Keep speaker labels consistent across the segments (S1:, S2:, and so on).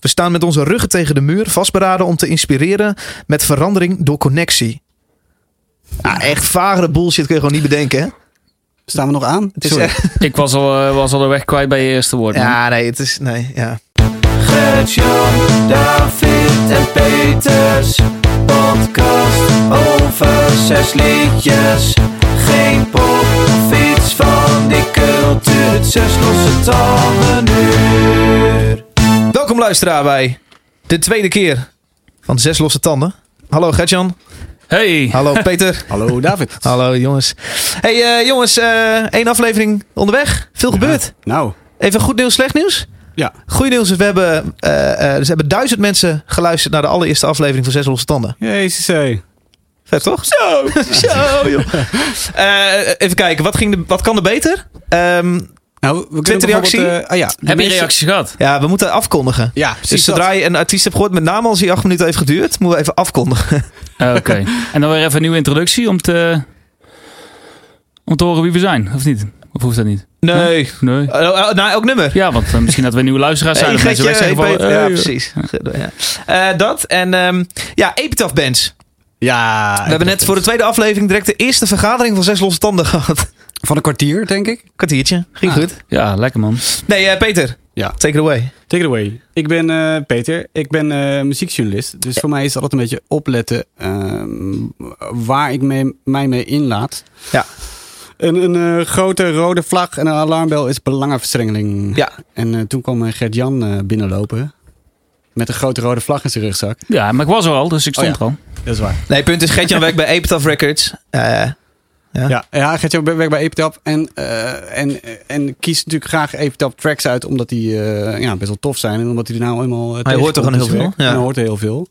S1: We staan met onze ruggen tegen de muur, vastberaden om te inspireren met verandering door connectie. Ah, echt vagere bullshit kun je gewoon niet bedenken, hè?
S2: Staan we nog aan?
S1: Het is
S2: Sorry.
S1: echt-
S3: Ik was al, eh, was al de weg kwijt bij je eerste woord. man.
S1: ja, nee, het is... Nee, ja.
S4: Gert-Jan, David en Peters. Podcast over zes liedjes. Geen pop of iets van die cultuur. Zes losse tanden uur.
S1: Welkom luisteraar bij de tweede keer van Zes Losse Tanden. Hallo Gertjan.
S2: Oh,
S3: Hey,
S1: Hallo Peter.
S2: Hallo David.
S1: Hallo jongens. Hey eh, jongens, eh, één aflevering onderweg. Veel gebeurd.
S2: Nou,
S1: Even goed nieuws, slecht nieuws.
S2: ja.
S1: Goed nieuws is, we hebben, eh, eh, ze hebben duizend mensen geluisterd naar de allereerste aflevering van Zes Losse Tanden.
S2: Jezus, hé.
S1: Vet toch? Zo! Zo, joh. Eh, even kijken, wat, ging de, wat kan er beter? Ehm,
S2: Nou, we kunnen
S1: Twitterreactie?
S2: bijvoorbeeld, eh, ah, ja. de
S3: heb je
S2: meeste-
S3: reacties gehad?
S1: ja, we moeten afkondigen.
S2: Ja, precies
S1: dus zodra
S2: dat.
S1: je een artiest hebt gehoord, met name als die acht minuten heeft geduurd, moeten we even afkondigen.
S3: Oh, Oké. En dan weer even een nieuwe introductie om te, om te horen wie we zijn, of niet? Of hoeft dat niet?
S1: Nee.
S3: Nee.
S1: Eh, eh, nou, elk nummer.
S3: Ja, want eh, misschien dat we nieuwe luisteraars zijn.
S1: Hey,
S3: dat mensen
S1: Gertje,
S3: wegzeggen
S1: hey,
S3: van,
S1: Peter.
S3: eh,
S1: ja, precies. Ja. Eh, dat en ehm, ja, Epitaph Bands.
S2: Ja.
S1: We hebben net voor de tweede aflevering direct de eerste vergadering van Zes Losse Tanden gehad.
S2: Van een kwartier, denk ik.
S1: Kwartiertje, ging
S2: Ah.
S1: goed.
S3: Ja, lekker man.
S1: Nee, eh, Peter,
S2: Ja.
S1: take it away.
S2: Take it away. Ik ben eh, Peter. Ik ben eh, muziekjournalist. Dus voor mij is het altijd een beetje opletten ehm, waar ik mee, mij mee inlaat.
S1: Ja.
S2: Een, een eh, grote rode vlag en een alarmbel is belangenverstrengeling.
S1: Ja.
S2: En eh, toen kwam eh, Gert-Jan eh, binnenlopen. Met een grote rode vlag in zijn rugzak.
S3: Ja, maar ik was er al, dus ik stond
S2: Oh, ja.
S3: er al.
S2: Dat is waar.
S1: Nee, punt is, Gertjan werkt bij Epitaph Records. Eh,
S2: Ja, ja Gert-Jan werkt bij Epitap en, eh, en, en kiest natuurlijk graag Epitap tracks uit omdat die eh, ja, best wel tof zijn en omdat hij er nou eenmaal eh,
S1: Hij hoort
S2: tegenkomt
S1: er gewoon
S2: in
S1: heel
S2: zijn werk.
S1: veel, ja.
S2: En hij hoort er heel veel.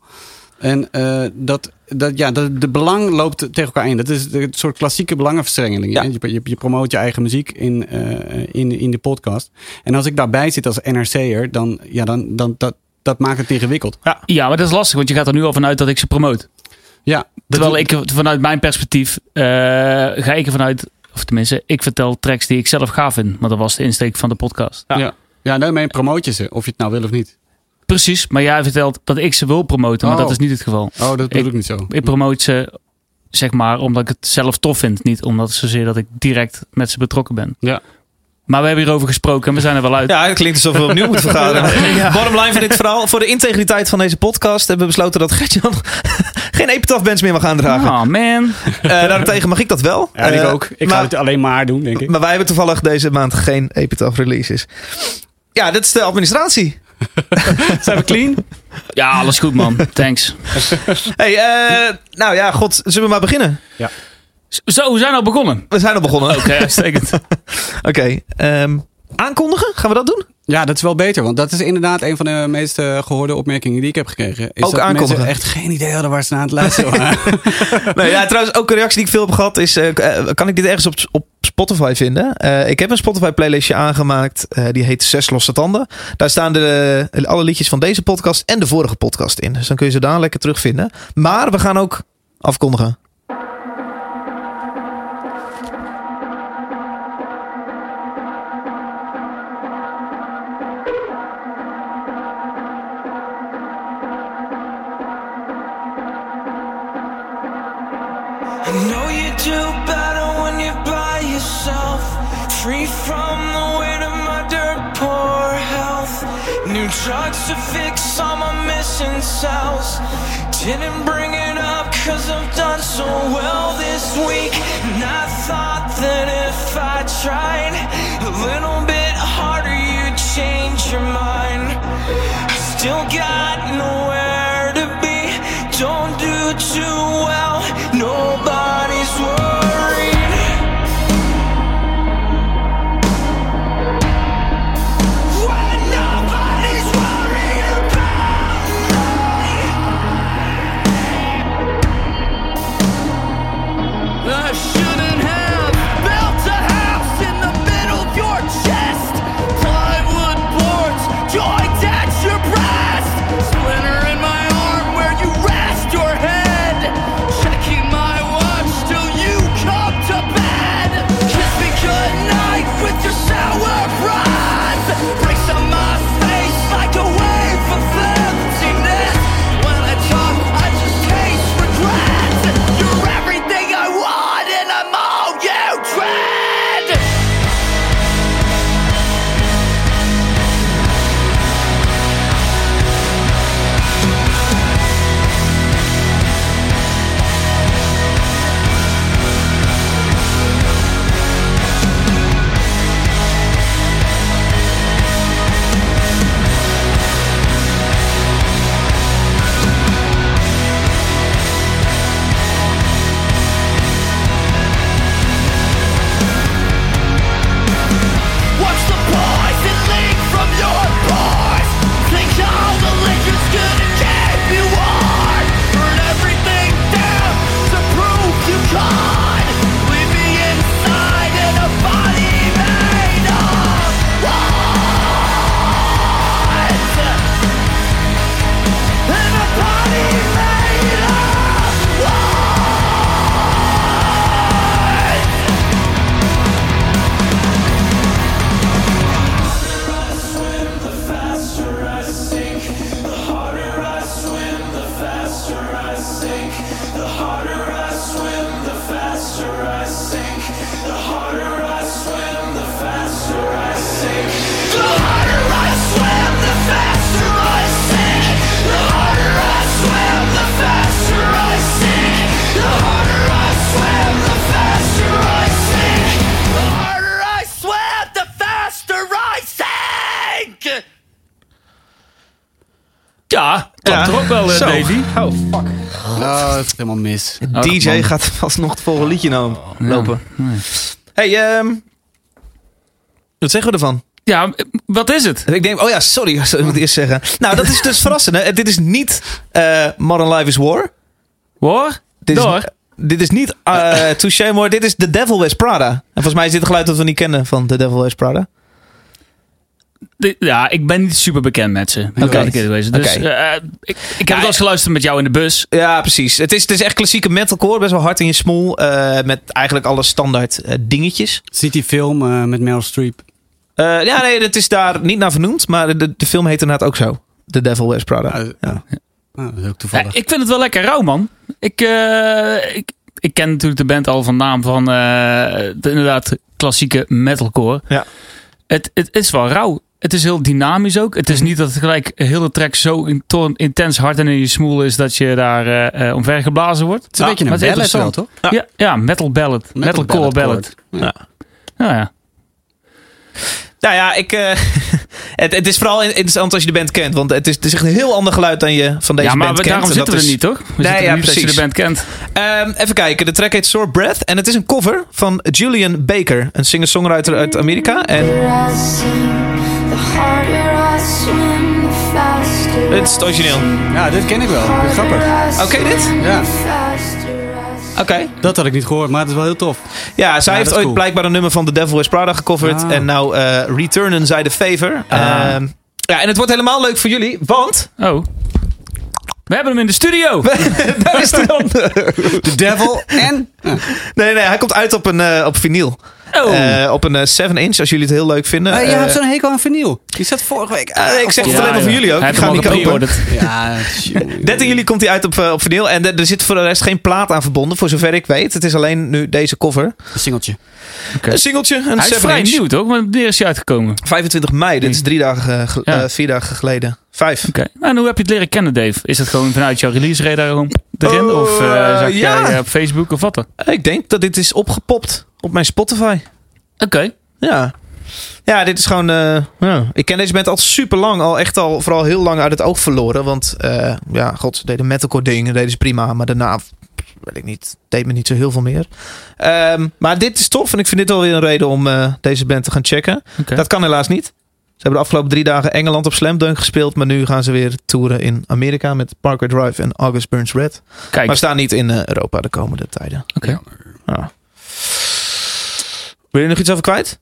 S2: En eh, dat, dat, ja, dat, de belang loopt tegen elkaar in. Dat is een soort klassieke belangenverstrengeling.
S1: Ja.
S2: hè. Je, je, je promoot je eigen muziek in, eh, in, in de podcast. En als ik daarbij zit als NRC'er, dan, ja, dan, dan dat, dat maakt het ingewikkeld.
S3: Ja. ja, maar dat is lastig, want je gaat er nu al vanuit dat ik ze promoot.
S2: Ah. Ja, dat
S3: Terwijl
S2: doet-
S3: ik er vanuit mijn perspectief eh, ga ik er vanuit, of tenminste, ik vertel tracks die ik zelf gaaf vind. Want dat was de insteek van de podcast.
S2: Ja, ja. daarmee promoot je ze, of je het nou wil of niet.
S3: Precies, maar jij vertelt dat ik ze wil promoten, maar
S2: Oh.
S3: dat is niet het geval.
S2: Oh, dat bedoel ik, niet zo.
S3: Ik promote ze, zeg maar, omdat ik het zelf tof vind. Niet omdat zozeer dat ik direct met ze betrokken ben.
S2: Ja.
S3: Maar we hebben hierover gesproken en we zijn er wel uit.
S1: ja, het klinkt alsof we opnieuw moeten vergaderen. Bottom line van dit verhaal. Voor de integriteit van deze podcast hebben we besloten dat Gertjan geen Epitaph Bands meer mag aandragen.
S3: Oh man.
S1: Eh, daarentegen mag ik dat wel.
S2: Ah. Ja, ik
S1: Eh,
S2: ook. Ik
S1: maar-
S2: ga het alleen maar doen, denk ik.
S1: Maar wij hebben toevallig deze maand geen Epitaph releases. Ja, dat is de administratie.
S2: Zijn we clean?
S3: Ja, alles goed man. Thanks.
S1: Hey, eh, nou ja, god, zullen we maar beginnen?
S3: Zo, we zijn al begonnen.
S1: We zijn al begonnen.
S3: Oké, uitstekend.
S1: Oké, ehm, aankondigen? Gaan we dat doen?
S2: Ja, dat is wel beter. Want dat is inderdaad een van de meest eh, gehoorde opmerkingen die ik heb gekregen. Is
S1: Ook
S2: dat
S1: aankondigen.
S2: mensen echt geen idee hadden waar ze naar aan het luisteren waren.
S1: Nee, ja, trouwens, ook een reactie die ik veel heb gehad is... eh, k- eh, kan ik dit ergens op, op Spotify vinden? Eh, ik heb een Spotify-playlistje aangemaakt. eh, die heet Zes Losse Tanden. Daar staan de, alle liedjes van deze podcast en de vorige podcast in. Dus dan kun je ze daar lekker terugvinden. Maar we gaan ook afkondigen.
S4: I know you do better when you're by yourself. Free from the weight of my dirt poor health. New drugs to fix all my missing cells. Didn't bring it up cause I've done so well this week. And I thought that if I tried a little bit harder, you'd change your mind. I still got nowhere to be. Don't do too well. Nobody's worried. When nobody's worried about me. I shouldn't have built a house in the middle of your chest. Plywood boards joined at your breast. kijken.
S3: Ja, dat
S1: Ja.
S3: er ook wel, eh,
S1: Zo.
S3: Davy.
S1: Oh, fuck.
S2: Oh, dat is helemaal mis.
S3: Ach,
S1: DJ
S3: man.
S1: gaat alsnog het volgende liedje nou
S3: Ja.
S1: lopen. Hey, ehm, wat zeggen we ervan?
S3: Ja, wat is het?
S1: Ik denk, oh ja, sorry, ik moet ik eerst zeggen. Nou, dat is dus verrassend. Hè? Dit is niet eh, Modern Life is War.
S3: Hoor?
S1: Dit is,
S3: Door.
S1: dit is niet eh Touché More, dit is The Devil Wears Prada. En volgens mij is dit een geluid dat we niet kennen van The Devil Wears Prada.
S3: Dit- Ja, ik ben niet super bekend met ze. Oké.
S1: Oké.
S3: Dus
S1: Oké.
S3: eh, ik, ik heb
S1: Ja,
S3: wel eens geluisterd met jou in de bus.
S1: Ja, precies. Het is, het is echt klassieke metalcore, best wel hard in je smoel. eh, met eigenlijk alle standaard eh, dingetjes.
S2: Ziet die film eh, met Meryl Streep.
S1: Eh, ja, nee, dat is daar niet naar vernoemd, maar de, de film heet inderdaad ook zo. The Devil Wears Prada.
S2: Ah,
S1: ja.
S2: Nou, dat is ook
S3: Ja,
S2: toevallig.
S3: ik vind het wel lekker rauw, man. Ik, eh, ik, ik ken natuurlijk de band al van naam van eh, de inderdaad klassieke metalcore.
S1: Ja.
S3: Het, het is wel rauw. Het is heel dynamisch ook. Het is
S1: Mhm.
S3: niet dat het gelijk heel de track zo inton- intens hard en in je smoel is dat je daar eh, eh, omver geblazen wordt.
S2: het is een beetje
S3: maar
S2: een
S3: het is
S2: ballad wel,
S3: interessant.
S2: toch?
S1: Ja.
S3: Ja, ja, metal ballad. Metalcore ballad.
S2: ballad. Ja.
S3: Ja, ja.
S1: Nou ja, ik, eh, het, het is vooral interessant als je de band kent. Want het is, het is echt een heel ander geluid dan je van deze
S3: ja, maar
S1: band
S3: we-
S1: kent.
S3: daarom
S1: En
S3: zitten we
S1: dat
S3: er
S1: is-
S3: niet, toch? We zitten er
S1: ja,
S3: niet dat je
S1: precies.
S3: de band kent.
S1: Ehm, even kijken, de track heet Sore Breath. En het is een cover van Julian Baker. Een singer-songwriter uit Amerika. En
S5: I sing, the harder I swim, the faster.
S1: het is het origineel.
S2: Ja, dit ken ik wel. Dit is grappig.
S1: Oké, dit?
S2: Ja.
S1: Oké.
S2: Dat had ik niet gehoord, maar het is wel heel tof.
S1: Ja, zij
S2: Ja, dat
S1: heeft
S2: is
S1: ooit
S2: cool.
S1: blijkbaar een nummer van The Devil Wears Prada gecoverd.
S2: Ah.
S1: En nou eh, returnen zij de favor. Ehm, ja, en het wordt helemaal leuk voor jullie, want...
S3: Oh. We hebben hem in de studio.
S1: Daar is de ander.
S2: The Devil en...
S3: Eh,
S1: Nee, nee, hij komt uit op een eh, op vinyl.
S3: Oh.
S1: Eh, op een 7-inch, als jullie het heel leuk vinden.
S2: Eh,
S1: Eh,
S2: jij hebt zo'n hekel aan vinyl. Die zat vorige week... Ah,
S1: eh, ik zeg het
S3: Ja,
S1: alleen maar voor
S3: ja.
S1: jullie ook.
S3: Hij
S1: ik
S3: heeft
S1: ga
S3: hem
S1: hem
S3: al
S1: niet kopen.
S3: gepreorderd.
S2: Ja,
S1: 13 juli komt hij uit op, eh, op vinyl. En er er zit voor de rest geen plaat aan verbonden, voor zover ik weet. Het is alleen nu deze cover.
S2: Een singeltje.
S3: Oké.
S1: Een singeltje, een
S3: Hij is
S1: 7
S3: vrij
S1: inch.
S3: nieuw, toch? Want wanneer is hij uitgekomen?
S1: 25 mei, dit is drie dagen, eh, gel-
S3: Ja.
S1: eh, vier dagen geleden. Vijf.
S3: Oké. En hoe heb je het leren kennen, Dave? Is dat gewoon vanuit jouw release radar erom- erin?
S1: Oh,
S3: of eh
S1: eh,
S3: zag
S1: ja.
S3: jij eh, op Facebook of wat dan?
S1: Eh, Ik denk dat dit is opgepopt op mijn Spotify.
S3: Oké.
S1: Ja. Ja, dit is gewoon. eh, ja. Ik ken deze band al super lang. Al echt al vooral heel lang uit het oog verloren. Want eh, ja, god, ze deden metalcore dingen. Deden ze prima. Maar daarna, weet ik niet, deed me niet zo heel veel meer. Ehm, maar dit is tof. En ik vind dit wel weer een reden om eh, deze band te gaan checken.
S3: Oké.
S1: Dat kan helaas niet. Ze hebben de afgelopen drie dagen Engeland op Slam Dunk gespeeld. Maar nu gaan ze weer toeren in Amerika met Parker Drive en August Burns Red.
S3: Kijk.
S1: Maar staan niet in eh, Europa de komende tijden.
S3: Oké.
S1: Ja. Wil je er nog iets over kwijt?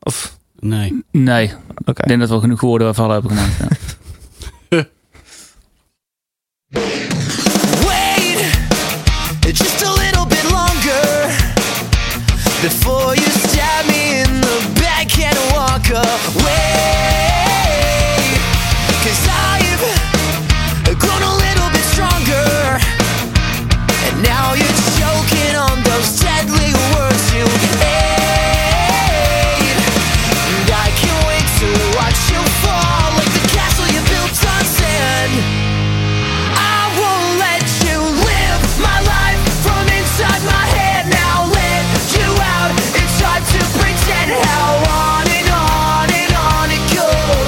S1: Of,
S2: Nee.
S3: Nee, ik
S1: oké.
S3: denk dat we al genoeg woorden waarvan hebben gemaakt. Ja.
S4: Wait just a little bit longer before you stab me in the back and walk away. Cause I've grown a little bit stronger, and now you're choking on those deadly words you hate. And I can't wait to watch you fall like the castle you built on sand. I won't let you live my life from inside my head. Now let you out. It's hard to pretend how on and on and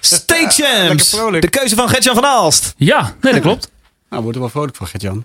S1: State
S2: Lekker
S1: Champs.
S2: vrolijk.
S1: De keuze van Gertjan van Aalst.
S3: Ja, nee, dat klopt.
S2: Nou, wordt er wel vrolijk van, Gert-Jan.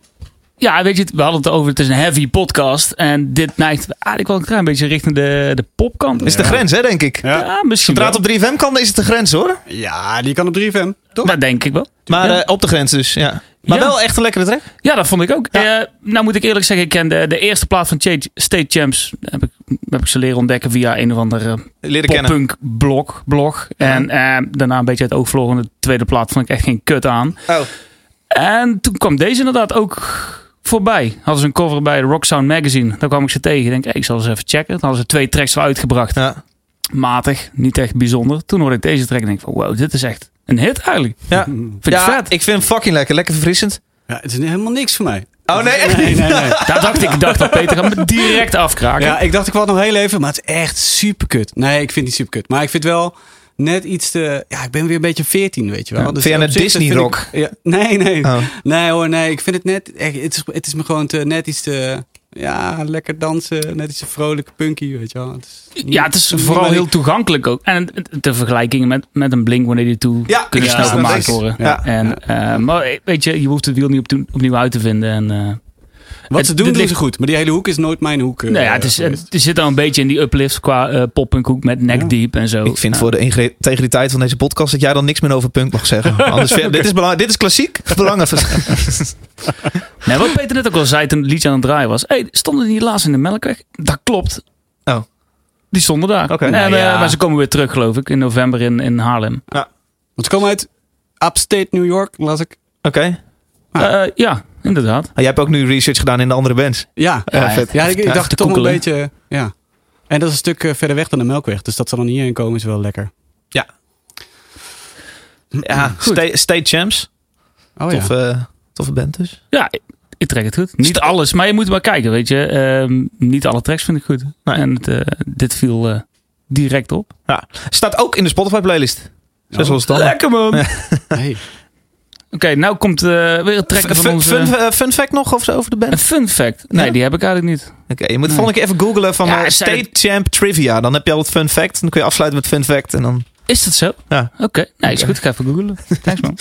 S3: Ja, weet je, we hadden het over, het is een heavy podcast. En dit neigt eigenlijk wel een klein beetje richting de, de popkant.
S1: Is de grens, hè, denk ik.
S2: Ja.
S3: Ja, misschien
S1: Zodra het
S3: wel.
S1: op 3FM kan, is het de grens, hoor.
S2: Ja, die kan op 3FM, toch?
S3: Dat denk ik wel.
S1: Maar
S3: Ja.
S1: eh, op de grens dus, ja. Maar
S3: Ja.
S1: wel echt een lekkere track.
S3: Ja, dat vond ik ook. Eh, nou moet ik eerlijk zeggen, ik ken de, de eerste plaat van Ch- State Champs. Heb ik, heb ik ze leren ontdekken via een of eh, andere
S1: Leren kennen.
S3: pop-punk blog. blog. En eh, daarna een beetje het oog verloren. De tweede plaat vond ik echt geen kut aan.
S1: Oh.
S3: En toen kwam deze inderdaad ook voorbij. Hadden ze een cover bij Rock Sound Magazine. Daar kwam ik ze tegen. Ik denk, hey, ik zal eens even checken. Dan hadden ze twee tracks al uitgebracht.
S1: Ja.
S3: Matig, niet echt bijzonder. Toen hoorde ik deze track en denk van, wow, dit is echt een hit eigenlijk.
S1: Ja.
S3: Vind ik
S1: Ja,
S3: vet.
S1: ik vind hem fucking lekker. Lekker verfrissend.
S2: Ja, het is helemaal niks voor mij.
S1: Oh nee, echt niet.
S2: nee, nee.
S3: Daar dacht ik, ik dacht dat Peter gaat me direct afkraken.
S2: Ja, ik dacht ik wacht nog heel even, maar het is echt super kut. Nee, ik vind het niet super kut. Maar ik vind wel net iets te... Ja, ik ben weer een beetje 14, weet je wel.
S1: Ja,
S2: Dus
S1: vind jij net
S2: op zich, dat
S1: Disney
S2: vind
S1: rock?
S2: Ik, ja, nee, nee.
S1: Oh.
S2: Nee hoor, nee. Ik vind het net... Echt, het, is, het is me gewoon te, net iets te... Ja, lekker dansen. Net iets te vrolijk, punky, weet je wel. Het is niet-
S3: Ja, het is
S2: niet
S3: vooral
S2: mijn-
S3: heel toegankelijk ook. En de vergelijkingen met, met een Blink wanneer die toe
S1: Ja,
S3: kunnen
S1: ja,
S3: snel
S1: dat
S3: gemaakt
S1: is-
S3: worden.
S1: ja.
S3: En, eh, maar weet je, je hoeft het wiel niet opnieuw, opnieuw uit te vinden. En, eh,
S2: Wat ze
S3: het-
S2: doen,
S3: dit
S2: doen
S3: ligt-
S2: ze goed. Maar die hele hoek is nooit mijn hoek. eh,
S3: nou ja, het, is,
S2: geweest.
S3: het, zit dan een beetje in die uplift qua eh pop en koek met neck
S2: Ja.
S3: deep en zo.
S1: Ik vind
S3: Ja.
S1: voor de ingre- integriteit van deze podcast dat jij dan niks meer over punk mag zeggen. Anders ver- dit, is belang- dit is klassiek. Belangrijk.
S3: Nee, wat Peter net ook al zei toen het liedje aan het draaien was. Hey, stonden die laatst in de melkweg? Dat klopt.
S1: Oh.
S3: Die stonden daar.
S1: Oké.
S3: En,
S1: Nou
S3: eh,
S2: ja.
S3: Maar ze komen weer terug, geloof ik, in november in, in Haarlem.
S2: Want ze komen uit upstate New York, las ik.
S1: Oké.
S2: Ah.
S3: Eh, ja, inderdaad.
S1: Ah, jij hebt ook nu research gedaan in de andere bands.
S3: Mm,
S2: Ja,
S1: Ja,
S3: Ja,
S1: vet.
S2: ja ik, ik
S1: Ja,
S2: dacht
S3: te
S2: toch wel een
S3: koekelen.
S2: beetje... Ja. En dat is een stuk eh, verder weg dan de Melkweg. Dus dat ze dan hierheen komen is wel lekker.
S3: mm,
S1: Ja, State, State Champs.
S2: Oh
S1: Toffe, eh, toffe band dus.
S3: Ja, ik, ik trek het goed. Niet alles, maar je moet maar kijken, weet je. Ehm, niet alle tracks vind ik goed.
S1: Nee.
S3: En het, eh, dit viel eh, direct op.
S1: Ja. Staat ook in de Spotify playlist. Zes losse tanden.
S3: Lekker man! Oké,
S2: Oh. Hey.
S3: nou komt eh, weer het trekken van
S1: Fun,
S3: onze...
S1: fun, eh, fun fact nog of zo over de band?
S3: Een fun fact. Nee,
S1: Ja?
S3: die heb ik eigenlijk niet.
S1: Oké, je moet volgende keer even googlen van
S3: Ja,
S1: eh,
S3: zijn
S1: State Champ Trivia. Dan heb je al het fun fact. Dan kun je afsluiten met fun fact. En dan...
S3: Is dat zo?
S1: Ja.
S3: Oké, nou is goed. Ga even googlen. Thanks man.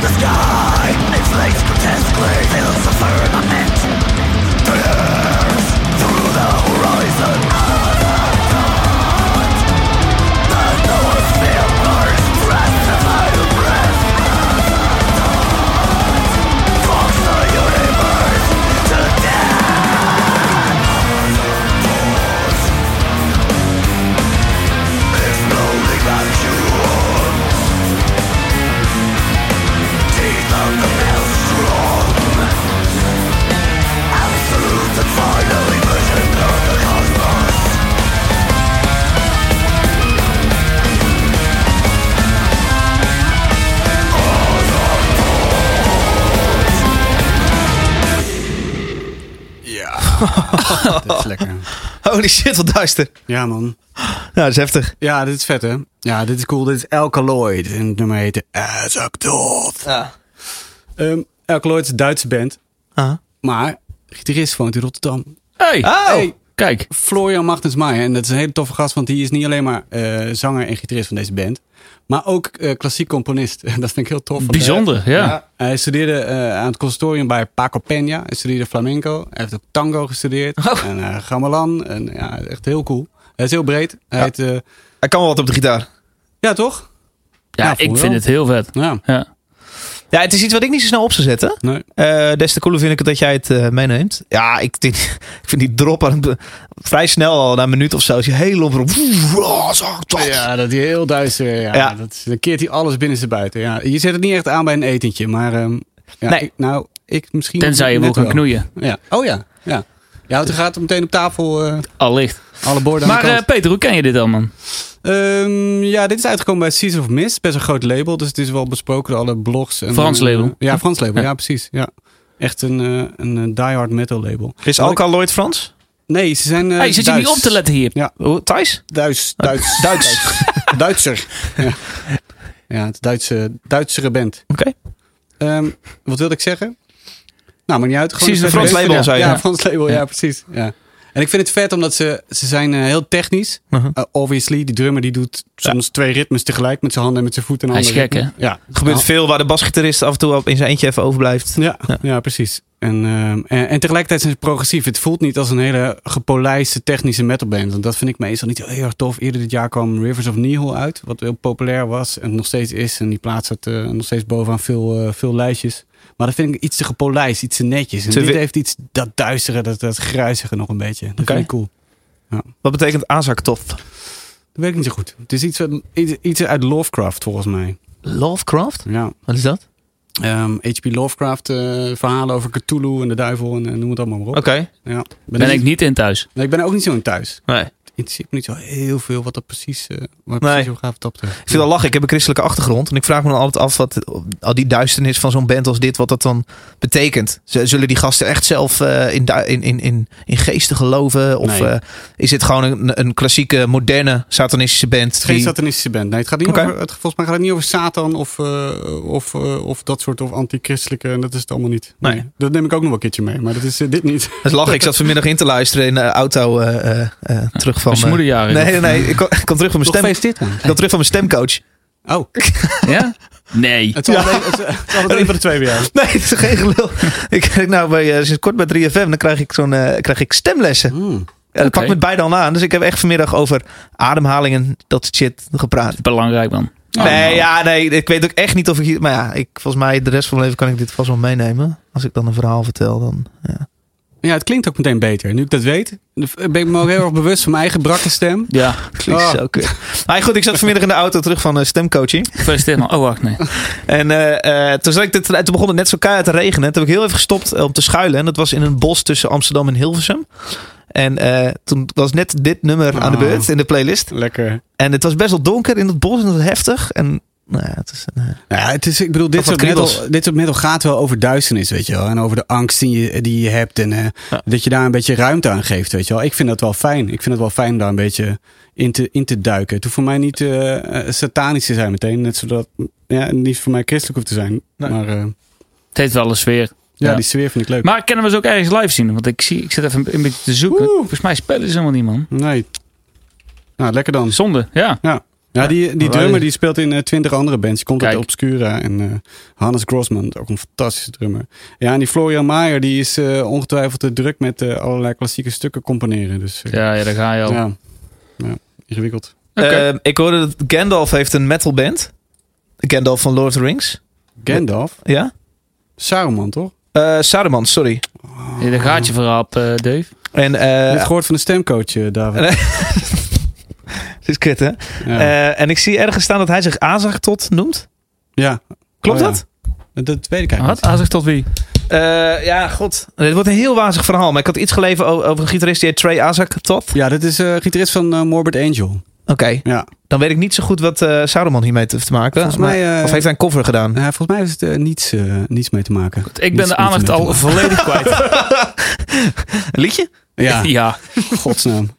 S6: the sky Inflates grotesquely, fills the firmament Tears through the horizon The north burns, breath of fire, breath Fuck the universe to death Exploding vacuum teeth of the maelstrom Absolute and final immersion of the cosmos
S2: Ja. dat is lekker.
S1: Holy shit, wat duister.
S2: Ja, man.
S1: Nou, dat is heftig.
S2: Ja, dit is vet, hè? Ja, dit is cool. Dit is Alkaloid. En het nummer heette As a Dot.
S1: Ja.
S2: Ehm, Alkaloid is een Duitse band. Maar gitarist woont in Rotterdam.
S3: Hey,
S1: Oh,
S2: Hey,
S3: kijk.
S2: Florian Machtens Maier. En dat is een hele toffe gast, want die is niet alleen maar eh, zanger en gitarist van deze band. Maar ook eh, klassiek componist. dat vind ik heel tof. want, eh,
S3: Bijzonder, ja.
S1: Ja.
S2: Hij studeerde eh, aan het conservatorium bij Paco Peña. Hij studeerde flamenco. Hij heeft ook tango gestudeerd. En eh, gamelan. En ja, echt heel cool. Hij is heel breed. Hij
S1: Ja.
S2: heet, eh,
S1: Hij kan wel wat op de gitaar.
S2: ja, toch?
S3: Ja,
S2: Ja,
S3: ik
S2: voor
S3: vind
S2: wel.
S3: het heel vet.
S2: Ja.
S3: Ja.
S1: Ja, het is iets wat ik niet zo snel op zou zetten.
S2: Nee.
S1: Eh, des te cooler vind ik het dat jij het eh, meeneemt. Ja, ik, die- ik vind die drop aan het, be- vrij snel al, na een minuut of zo, is je helemaal... ah,
S2: Ja, dat hij heel duister. Ja,
S1: Ja.
S2: Dat, is- dan keert hij alles binnen zijn buiten. Ja, je zet het niet echt aan bij een etentje, maar ehm, ja,
S1: Nee.
S2: ik- nou, ik misschien.
S3: Tenzij je
S2: net
S3: wil gaan
S2: wel.
S3: knoeien.
S2: Ja. Oh ja. ja. Ja, want er gaat meteen op tafel eh,
S3: Allicht.
S2: alle borden aan
S3: Maar
S2: de kant.
S3: eh, Peter, hoe ken je dit dan, man?
S2: Ehm, ja, dit is uitgekomen bij Seas of Mist. Best een groot label, dus het is wel besproken door alle blogs. En,
S3: Frans
S2: eh,
S3: label.
S2: ja, Frans label.
S3: Ja.
S2: Ja, precies. Ja. Echt een, eh, een eh, diehard metal label.
S1: Is Alkaloid Frans?
S2: Nee, ze zijn eh
S3: hey, zit je
S2: Duits.
S3: niet op te letten hier?
S1: Hoe, Thijs?
S2: Duits. Duits. Duits. Duitser. Ja, ja het Duitse, Duitsere band.
S1: Oké.
S2: Ehm, wat wilde ik zeggen? Nou, maar niet uit.
S3: Precies,
S2: een
S3: een Frans
S1: label,
S2: ja.
S1: zei je.
S2: Ja, Frans label, ja,
S3: Ja.
S2: precies. Ja. En ik vind het vet omdat ze, ze zijn eh, heel technisch.
S1: Mhm.
S2: Eh, obviously, die drummer die doet soms twee ritmes tegelijk met zijn handen en met zijn voeten. en
S3: Hij is
S2: andere
S3: gek, hè?
S2: ritme. Ja.
S1: Gebeurt
S2: Nou,
S1: veel waar de basgitarist af en toe op in zijn eentje even overblijft.
S2: ja, ja. precies. En, ehm, en, en tegelijkertijd zijn ze progressief. Het voelt niet als een hele gepolijste technische metalband. Want dat vind ik meestal niet heel erg tof. Eerder dit jaar kwam Rivers of Nihil uit. Wat heel populair was en nog steeds is. En die plaatst het eh, nog steeds bovenaan veel, eh, veel lijstjes. Maar dat vind ik iets te gepolijst, iets te netjes. En
S1: Te
S2: dit
S1: wi-
S2: heeft iets dat duistere, dat, dat gruizige nog een beetje. Dat
S1: Oké.
S2: vind ik cool.
S1: Wat betekent aanzaktof?
S2: Dat weet ik niet zo goed. Het is iets, wat- iets, iets uit Lovecraft volgens mij.
S1: Lovecraft?
S2: Ja.
S1: Wat is dat?
S2: Ehm, H.P. Lovecraft eh, verhalen over Cthulhu en de duivel en eh, noem het allemaal maar op.
S1: Oké.
S2: Ja. Ben
S3: Ben
S2: ik,
S3: ik niet in thuis.
S2: nee, ik ben er ook niet zo in thuis.
S1: Nee. Ik
S2: Het interesseert me niet zo heel veel wat dat precies, eh
S1: Nee.
S2: waar precies over gaat. wat Dat
S1: vind wel lachen. Ik heb een christelijke achtergrond. En ik vraag me dan altijd af wat al die duisternis van zo'n band als dit, wat dat dan betekent. Z- Zullen die gasten echt zelf eh, in, du- in, in, in, in geesten geloven? Of
S2: Nee.
S1: eh, is dit gewoon een, een klassieke, moderne, satanistische band?
S2: geen
S1: die-
S2: satanistische band. Nee, het gaat niet
S1: Oké.
S2: over, het, volgens mij gaat het niet over Satan of, eh, of, eh, of dat soort of antichristelijke. En dat is het allemaal niet.
S1: Nee.
S2: Dat neem ik ook nog wel een keertje mee, maar dat is eh, dit niet.
S1: Het lachen. Ik zat vanmiddag in te luisteren in de auto eh, eh, eh, terug van...
S3: Als je
S1: eh,
S3: moederjarig
S1: Nee, nee, nee. Ik kwam, ik kwam terug van mijn stem...
S2: feest dit dan?
S1: Ik kwam terug van mijn stemcoach.
S2: Oh,
S3: Ja? Nee.
S2: het is altijd het is altijd één van de twee weer. aan.
S1: Nee, het is geen gelul. ik werk nou bij, eh, sinds kort bij 3FM. Dan krijg ik, zo'n, eh, krijg ik stemlessen.
S2: Hmm.
S1: En dat
S3: Oké.
S1: pak ik met beide al aan. Dus ik heb echt vanmiddag over ademhalingen, dat shit, gepraat.
S3: Belangrijk, man.
S2: Oh,
S3: Oh,
S2: nou.
S3: nou.
S1: nee, ja, nee. Ik weet ook echt niet of ik hier... Maar ja, ik, volgens mij de rest van mijn leven kan ik dit vast wel meenemen. Als ik dan een verhaal vertel, dan... Ja.
S2: Ja, het klinkt ook meteen beter. Nu ik dat weet, ben ik me ook heel erg bewust van mijn eigen brakke stem.
S3: Ja,
S1: Klinkt
S2: Ah.
S1: zo kut. Maar goed, ik zat vanmiddag in de auto terug van eh, stemcoaching.
S3: gefeliciteerd, man. Oh, wacht, nee.
S1: En eh, eh, toen, zat ik dit, toen begon het net zo keihard te regenen. Toen heb ik heel even gestopt eh, om te schuilen. En dat was in een bos tussen Amsterdam en Hilversum. En eh, toen was net dit nummer aan de
S2: Ah.
S1: beurt in de playlist.
S2: Lekker.
S1: En het was best wel donker in het bos en het was heftig. En nou ja, het is, eh,
S2: Ja, het is, ik bedoel, dit
S1: Of wat
S2: soort, metal,
S1: kriebels.
S2: dit soort metal gaat wel over duisternis, weet je wel. En over de angst die je, die je hebt. En eh, dat je daar een beetje ruimte aan geeft, weet je wel. Ik vind dat wel fijn. Ik vind het wel fijn om daar een beetje in te, in te duiken. Het hoeft voor mij niet eh, eh, satanisch te zijn meteen. Net zodat, ja, niet voor mij christelijk hoeft te zijn.
S1: Nee.
S2: Maar eh,
S3: Het heeft wel een sfeer.
S2: ja,
S3: Ja.
S2: die sfeer vind ik leuk.
S3: Maar kunnen we ze ook ergens live zien? Want ik, zie, ik zit even een beetje te zoeken.
S2: Oeh.
S3: Volgens mij spelen ze helemaal niet, man.
S2: Nee. Nou, lekker dan.
S3: Zonde, ja.
S2: Ja. Ja, die, die
S6: Maar
S2: drummer
S6: wij-
S2: die speelt in eh, twintig andere bands. Die komt uit
S3: Kijk.
S2: Obscura en eh, Hannes Grossman, ook een fantastische drummer. Ja, en die Florian Maier, die is eh, ongetwijfeld te druk met eh, allerlei klassieke stukken componeren. Dus eh,
S3: Ja, ja, daar ga je al.
S2: ja. Ja, ingewikkeld.
S3: Oké.
S6: Eh, ik hoorde dat Gandalf heeft een metalband. Gandalf van Lord of the Rings.
S2: Gandalf,
S6: Ja?
S2: Saruman toch?
S6: Eh Saruman, sorry.
S3: Ja, daar gaat je verhaal op, eh, Dave.
S6: En
S2: Je hebt
S6: eh
S2: gehoord van de stemcoach, eh, David.
S6: het is kut, hè?
S2: Ja.
S6: Eh, en ik zie ergens staan dat hij zich Azagtot noemt.
S2: Ja.
S6: Klopt
S2: Oh, ja.
S6: dat?
S2: Dat weet ik eigenlijk
S3: Wat? Hij zegt tot wie?
S6: Eh, ja, god. Het wordt een heel wazig verhaal. Maar ik had iets gelezen o- over een gitarist die heet Trey Azagtot.
S2: niet. Ja, dat is eh gitarist van eh, Morbid Angel.
S6: Oké,
S2: Ja.
S6: dan weet ik niet zo goed wat eh Saruman hiermee te te maken.
S2: Volgens mij,
S6: Maar-
S2: eh,
S6: of heeft hij een cover gedaan?
S2: Nou, volgens mij heeft het eh, niets, eh, niets mee te maken.
S3: Ik ben
S2: Niets-
S3: de aandacht
S2: niets mee te
S3: al
S2: maken.
S3: volledig kwijt.
S6: Een liedje?
S2: Ja,
S3: ja.
S2: godsnaam.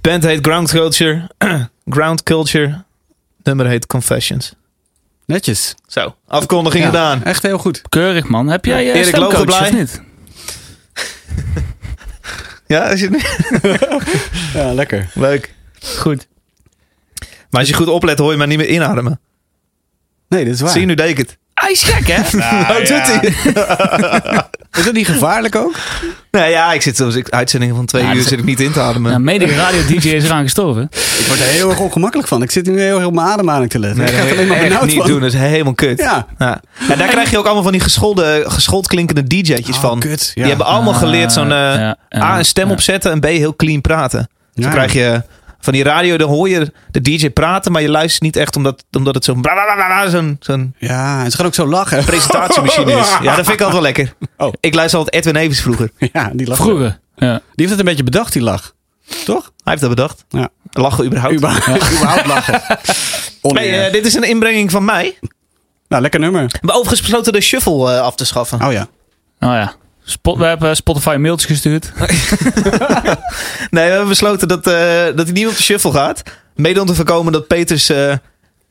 S6: Band heet Ground Culture. Ground Culture. Nummer heet Confessions.
S2: Netjes.
S6: Zo, afkondiging
S2: Ja,
S6: gedaan.
S2: Echt heel goed.
S3: Keurig, man. Heb jij
S6: Ja,
S3: eh,
S6: Erik
S3: stemcoach
S6: Logen blij?
S3: of niet?
S6: Ja, is het niet?
S2: Ja, lekker.
S6: Leuk. Goed. Maar als je goed oplet, hoor je maar niet meer inademen.
S2: Nee, dat is waar.
S6: Zie je, nu deed ik het.
S3: Hij is gek, hè?
S6: Nou, doet hij.
S2: Is dat niet gevaarlijk ook?
S6: Nee, ja, ik zit zoals ik uitzendingen van twee
S3: Ja,
S6: uur
S3: dat is-
S6: zit ik niet in te ademen.
S3: Nou, mede radio-dj is eraan gestorven.
S2: Ik word er heel erg ongemakkelijk van. Ik zit nu heel, heel op mijn ademhaling te letten.
S6: nee,
S2: ik ga
S6: dat
S2: het
S6: moet
S2: alleen
S6: je
S2: maar
S6: echt
S2: benauwd
S6: niet
S2: van.
S6: doen. Dat is helemaal kut.
S2: Ja.
S6: Ja. En daar krijg je ook allemaal van die gescholden, geschoold klinkende DJ'tjes
S2: Oh,
S6: van.
S2: kut.
S6: Die
S2: Ja.
S6: hebben allemaal geleerd zo'n eh,
S3: Ah, ja, ja,
S6: A, een stem
S3: ja.
S6: opzetten en B, heel clean praten. Dus
S2: Ja.
S6: dan krijg je van die radio, dan hoor je de DJ praten, maar je luistert niet echt omdat, omdat het zo'n blablabla, zo'n zo'n
S2: Ja, en ze gaan ook zo lachen.
S6: presentatiemachine is. Ja, dat vind ik altijd wel lekker.
S2: Oh.
S6: Ik luister altijd Edwin Evers vroeger.
S2: Ja, die lachen.
S3: Vroeger. Ja.
S2: Die heeft het een beetje bedacht, die lach. Toch?
S6: Hij heeft dat bedacht.
S2: Ja.
S6: Lachen überhaupt.
S2: Überhaupt, überhaupt lachen.
S6: Nee,
S2: Oneer.
S6: eh, dit is een inbrenging van mij. We
S2: nou, lekker nummer.
S6: hebben overigens besloten de shuffle eh, af te schaffen.
S2: Oh ja.
S3: Nou ja. Spot, we hebben Spotify mailtjes gestuurd.
S6: Nee, we hebben besloten dat, eh, dat hij niet op de shuffle gaat. Mede om te voorkomen dat Peters eh,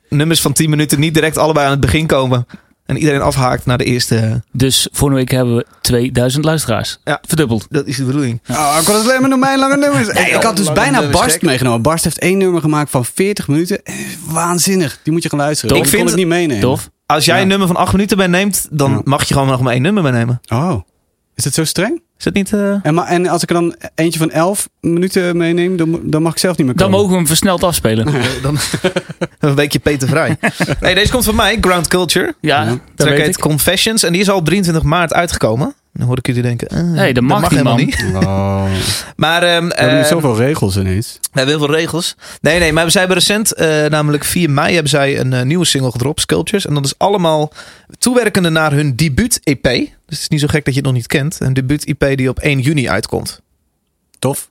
S6: nummers van 10 minuten niet direct allebei aan het begin komen. En iedereen afhaakt naar de eerste.
S3: Dus volgende week hebben we 2000 luisteraars.
S6: Ja.
S3: Verdubbeld.
S6: Dat is de bedoeling.
S2: Oh, ik had het alleen maar door mijn lange nummers. ik
S6: joh,
S2: had dus
S6: lange
S2: bijna
S6: nummers,
S2: Barst
S6: gek.
S2: meegenomen. Barst heeft één nummer gemaakt van 40 minuten. Eh, Waanzinnig. Die moet je gaan luisteren.
S6: Ik
S2: Ik
S6: vind
S2: kon ik
S6: het-
S2: niet meenemen.
S3: Tof.
S6: Als jij
S2: Ja.
S6: een nummer van 8 minuten meeneemt, dan
S2: Ja.
S6: mag je gewoon nog maar één nummer meenemen.
S2: Oh. Is het zo streng?
S1: Is dat niet... eh,
S2: En, maar, en als ik er dan eentje van 11 minuten meeneem, dan, mo- dan mag ik zelf niet meer
S3: Dan
S2: komen.
S3: mogen we hem versneld afspelen.
S1: dan een beetje Peter Vrij. hey, deze komt van mij, Ground Culture.
S3: Ja,
S2: Ja.
S3: dat
S1: Track
S3: weet
S1: heet
S3: ik.
S1: Confessions en die is al op 23 maart uitgekomen. Dan hoor ik jullie denken, eh,
S3: dat mag niet,
S1: helemaal
S3: man.
S1: niet.
S2: Wow.
S1: Maar ehm,
S2: We hebben nu
S1: ehm,
S2: zoveel regels ineens.
S1: We hebben heel veel regels. Nee, nee, maar zij hebben recent, eh, namelijk 4 mei, hebben zij een eh, nieuwe single gedropt, Sculptures. En dat is allemaal toewerkende naar hun debuut-EP. Dus het is niet zo gek dat je het nog niet kent. Een debuut-EP die op 1 juni uitkomt.
S2: Tof.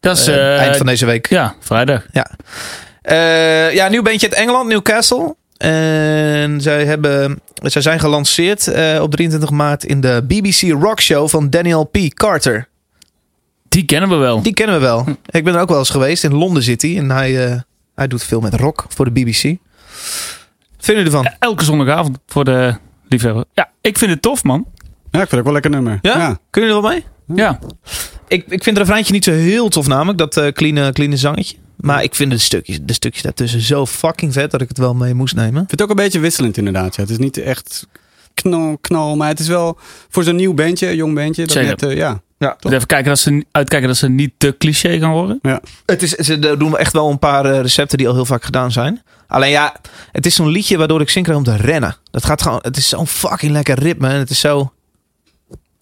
S3: Dat is...
S1: Eh,
S3: eh,
S1: eind van deze week.
S3: Ja, vrijdag.
S1: Eh, ja, nieuw bandje uit Engeland, Newcastle. En zij, hebben, zij zijn gelanceerd eh, op 23 maart in de BBC Rock Show van Daniel P. Carter.
S3: Die kennen we wel.
S1: Die kennen we wel. Ik ben er ook wel eens geweest. In Londen zit hij. En hij, eh, hij doet veel met rock voor de BBC. Wat Vinden jullie ervan?
S3: Elke zondagavond voor de liefhebber. Ja, ik vind het tof, man.
S2: Ja, ik vind het ook wel een lekker nummer.
S1: Ja? Kunnen jullie er wel mee?
S3: Ja.
S1: Ik, ik vind het refreintje niet zo heel tof namelijk. Dat eh clean, clean zangetje. Maar ik vind de stukjes, de stukjes daartussen zo fucking vet dat ik het wel mee moest nemen.
S2: Ik vind het ook een beetje wisselend inderdaad. Ja. Het is niet echt knal, knal. Maar het is wel voor zo'n nieuw bandje, een jong bandje. Dat
S3: Zeker.
S2: net, eh, ja.
S3: Dus even kijken dat ze, uitkijken dat ze niet te cliché gaan worden.
S1: Het is, ze doen echt wel een paar eh, recepten die al heel vaak gedaan zijn. Alleen ja, het is zo'n liedje waardoor ik zin krijg om te rennen. Dat gaat gewoon, het is zo'n fucking lekker ritme. En het is zo...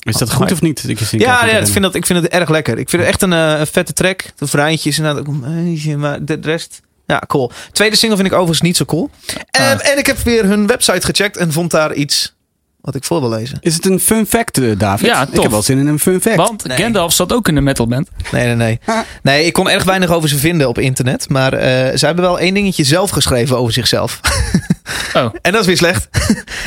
S2: Is dat
S1: Oh,
S2: goed
S1: maar-
S2: of niet? Dat je zingt
S1: Ja,
S2: als
S1: ja ik,
S2: erin?
S1: vind dat, ik vind het erg lekker. Ik vind het echt een, eh, een vette track. De vrijtjes en ook een beetje, maar de rest... Ja, cool. Tweede single vind ik overigens niet zo cool. Ehm, En ik heb weer hun website gecheckt en vond daar iets wat ik voor wil lezen.
S2: Is het een fun fact, eh, David?
S3: Ja,
S2: Ik
S3: tof.
S2: heb wel zin in een fun fact.
S3: Want
S1: Nee.
S3: Gandalf zat ook in de metalband.
S1: Nee, nee, nee. Nee, ik kon erg weinig over ze vinden op internet. Maar eh, ze hebben wel één dingetje zelf geschreven over zichzelf.
S3: Oh.
S1: En dat is weer slecht.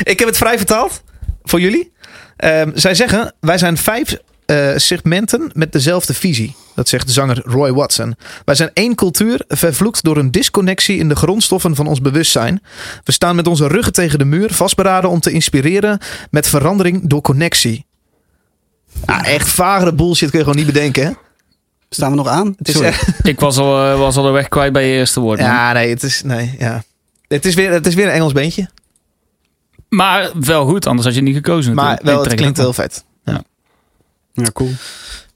S1: ik heb het vrij vertaald voor jullie. Ehm, zij zeggen, wij zijn vijf eh, segmenten met dezelfde visie. Dat zegt de zanger Roy Watson. Wij zijn één cultuur, vervloekt door een disconnectie in de grondstoffen van ons bewustzijn. We staan met onze ruggen tegen de muur, vastberaden om te inspireren met verandering door connectie. Ah, echt vagere bullshit kun je gewoon niet bedenken. Hè?
S2: Staan we nog aan?
S1: Het is
S2: Sorry.
S1: echt-
S3: Ik was al, eh, was al de weg kwijt bij je eerste woord. man.
S1: ja, nee, het is, nee, ja. Het is, weer, het is weer een Engels beentje.
S3: Maar wel goed, anders had je het niet gekozen.
S1: Maar
S3: natuurlijk.
S1: wel,
S3: Ik
S1: het
S3: trek
S1: klinkt
S3: ook
S1: heel vet.
S2: Ja, cool.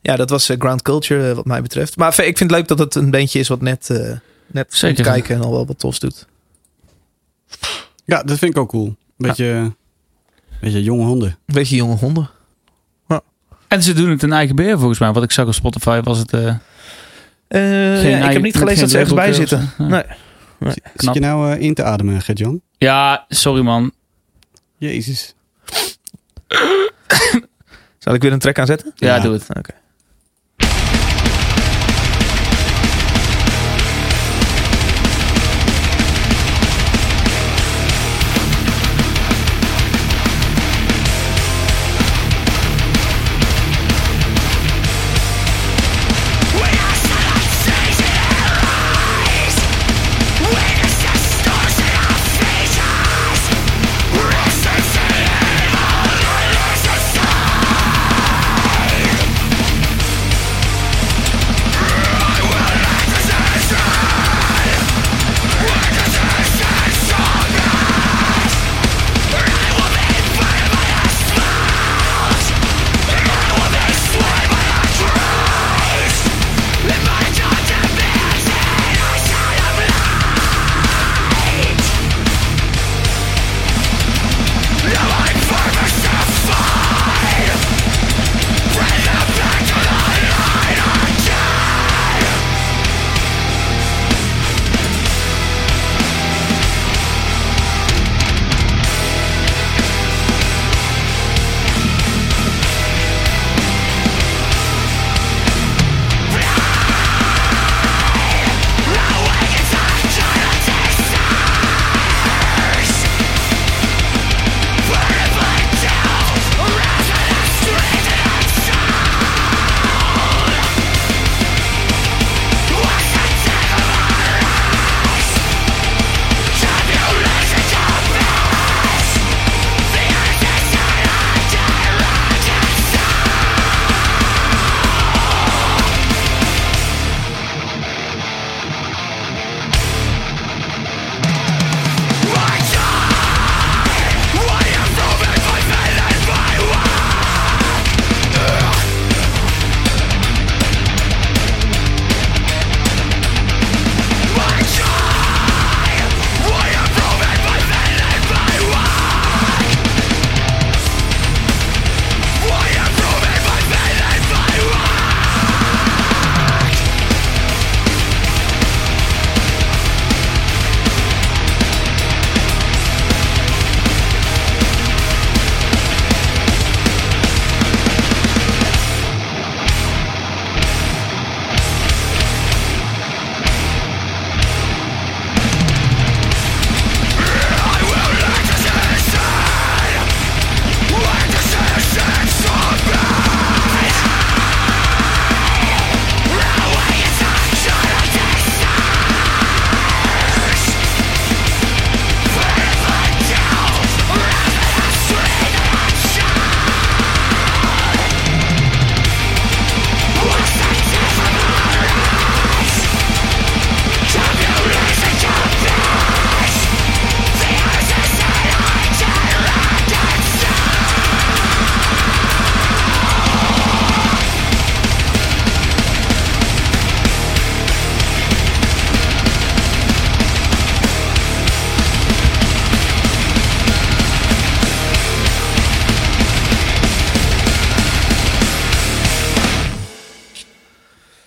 S1: Ja, dat was eh, Ground Culture eh, wat mij betreft. Maar ik vind het leuk dat het een bandje is wat net, eh net
S3: Zeker.
S1: goed kijken en al wel wat tofs doet.
S2: Ja, dat vind ik ook cool. Beetje, beetje jonge honden.
S1: Een beetje jonge honden.
S3: wel. En ze doen het in eigen beheer volgens mij. Wat ik zag op Spotify was het... eh,
S1: Eh,
S3: geen
S1: ja, ik
S3: ei-
S1: heb niet
S3: met
S1: gelezen dat
S3: geen
S1: ze ergens bij
S3: labeltje of
S1: zitten.
S3: zo. Ja.
S1: Nee.
S2: Zit je nou eh, in te ademen, Gert-Jan?
S3: Ja, sorry man.
S2: Jezus.
S1: Zal ik weer een track aanzetten?
S3: Ja,
S2: Ja.
S3: doe het.
S1: Oké.
S6: Resistance in our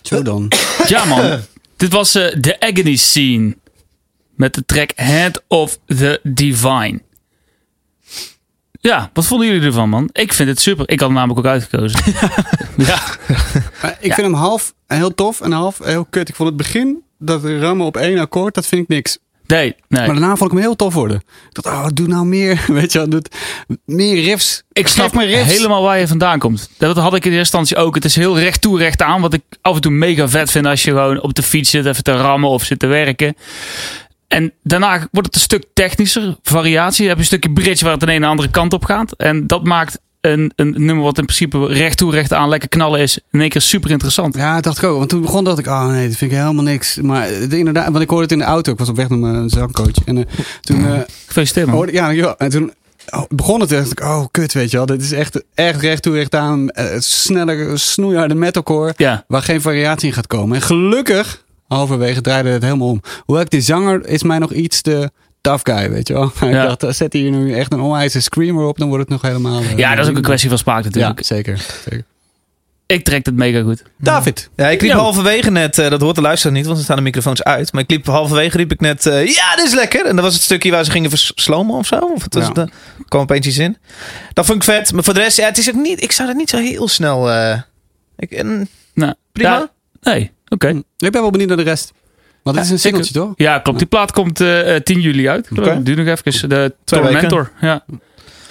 S2: Zo dan.
S3: Ja, man. Dit was eh, de Agony Scene. Met de track Head of the Divine. Ja, wat vonden jullie ervan, man? Ik vind het super. Ik had hem namelijk ook uitgekozen. ja.
S2: Maar ik vind hem half heel tof en half heel kut. Ik vond het begin, dat rammen op één akkoord, dat vind ik niks.
S3: Nee, nee.
S2: Maar daarna vond ik hem heel tof worden. Ik dacht, oh, doe nou meer. Weet je, wel, doe het- meer riffs.
S3: ik
S2: Geef
S3: snap
S2: me riffs.
S3: helemaal waar je vandaan komt. Dat had ik in de eerste instantie ook. Het is heel recht toe, recht aan. Wat ik af en toe mega vet vind als je gewoon op de fiets zit, even te rammen of zit te werken. En daarna wordt het een stuk technischer, variatie. Dan heb je een stukje bridge waar het de een en de andere kant op gaat. En dat maakt een, een nummer wat in principe recht toe, recht aan lekker knallen is, in één keer super interessant.
S2: Ja, dat dacht ik ook. Want toen begon dat ik, oh nee, dat vind ik helemaal niks. Maar eh, inderdaad, want ik hoorde het in de auto. Ik was op weg naar mijn zangcoach. En eh, toen eh,
S3: Gefeliciteerd man.
S2: hoorde ja, dankjewel. En toen oh, begon het en dacht ik, oh kut, weet je wel. Dit is echt, echt recht toe, recht aan. eh, snelle, snoeiharde metalcore.
S3: Ja,
S2: waar geen variatie in gaat komen. En gelukkig, halverwege draaide het helemaal om. Hoewel ik die zanger is mij nog iets te tough guy, weet je wel. ik
S3: Ja.
S2: dacht, eh, zet hier nu echt een onwijze screamer op, dan wordt het nog helemaal... eh,
S3: ja dat is ook een kwestie van smaak
S2: Ja,
S3: natuurlijk.
S2: zeker. zeker.
S3: Ik trek het mega goed.
S2: David.
S1: Ja, ik liep
S3: Yo.
S1: halverwege net, eh, dat hoort de luisteraar niet, want er staan de microfoons uit. Maar ik liep halverwege, riep ik net, eh, ja, dit is lekker. En dat was het stukje waar ze gingen verslomen of zo. Of het was,
S2: Ja.
S1: de- kwam opeens iets in. Dat vond ik vet. Maar voor de rest, ja, het is ook niet, ik zou dat niet zo heel snel... eh, ik, en-
S3: Nou,
S1: Prima.
S3: ja, nee, oké.
S2: Hm. Ik ben wel benieuwd naar de rest. Want het
S3: Ja,
S2: is een
S3: zeker.
S2: singeltje, toch?
S3: Ja, klopt. Die plaat komt eh, eh, 10 juli uit.
S1: Oké.
S3: Okay. Duur nog even. eh, De
S1: Twee
S3: Tormentor. Ja.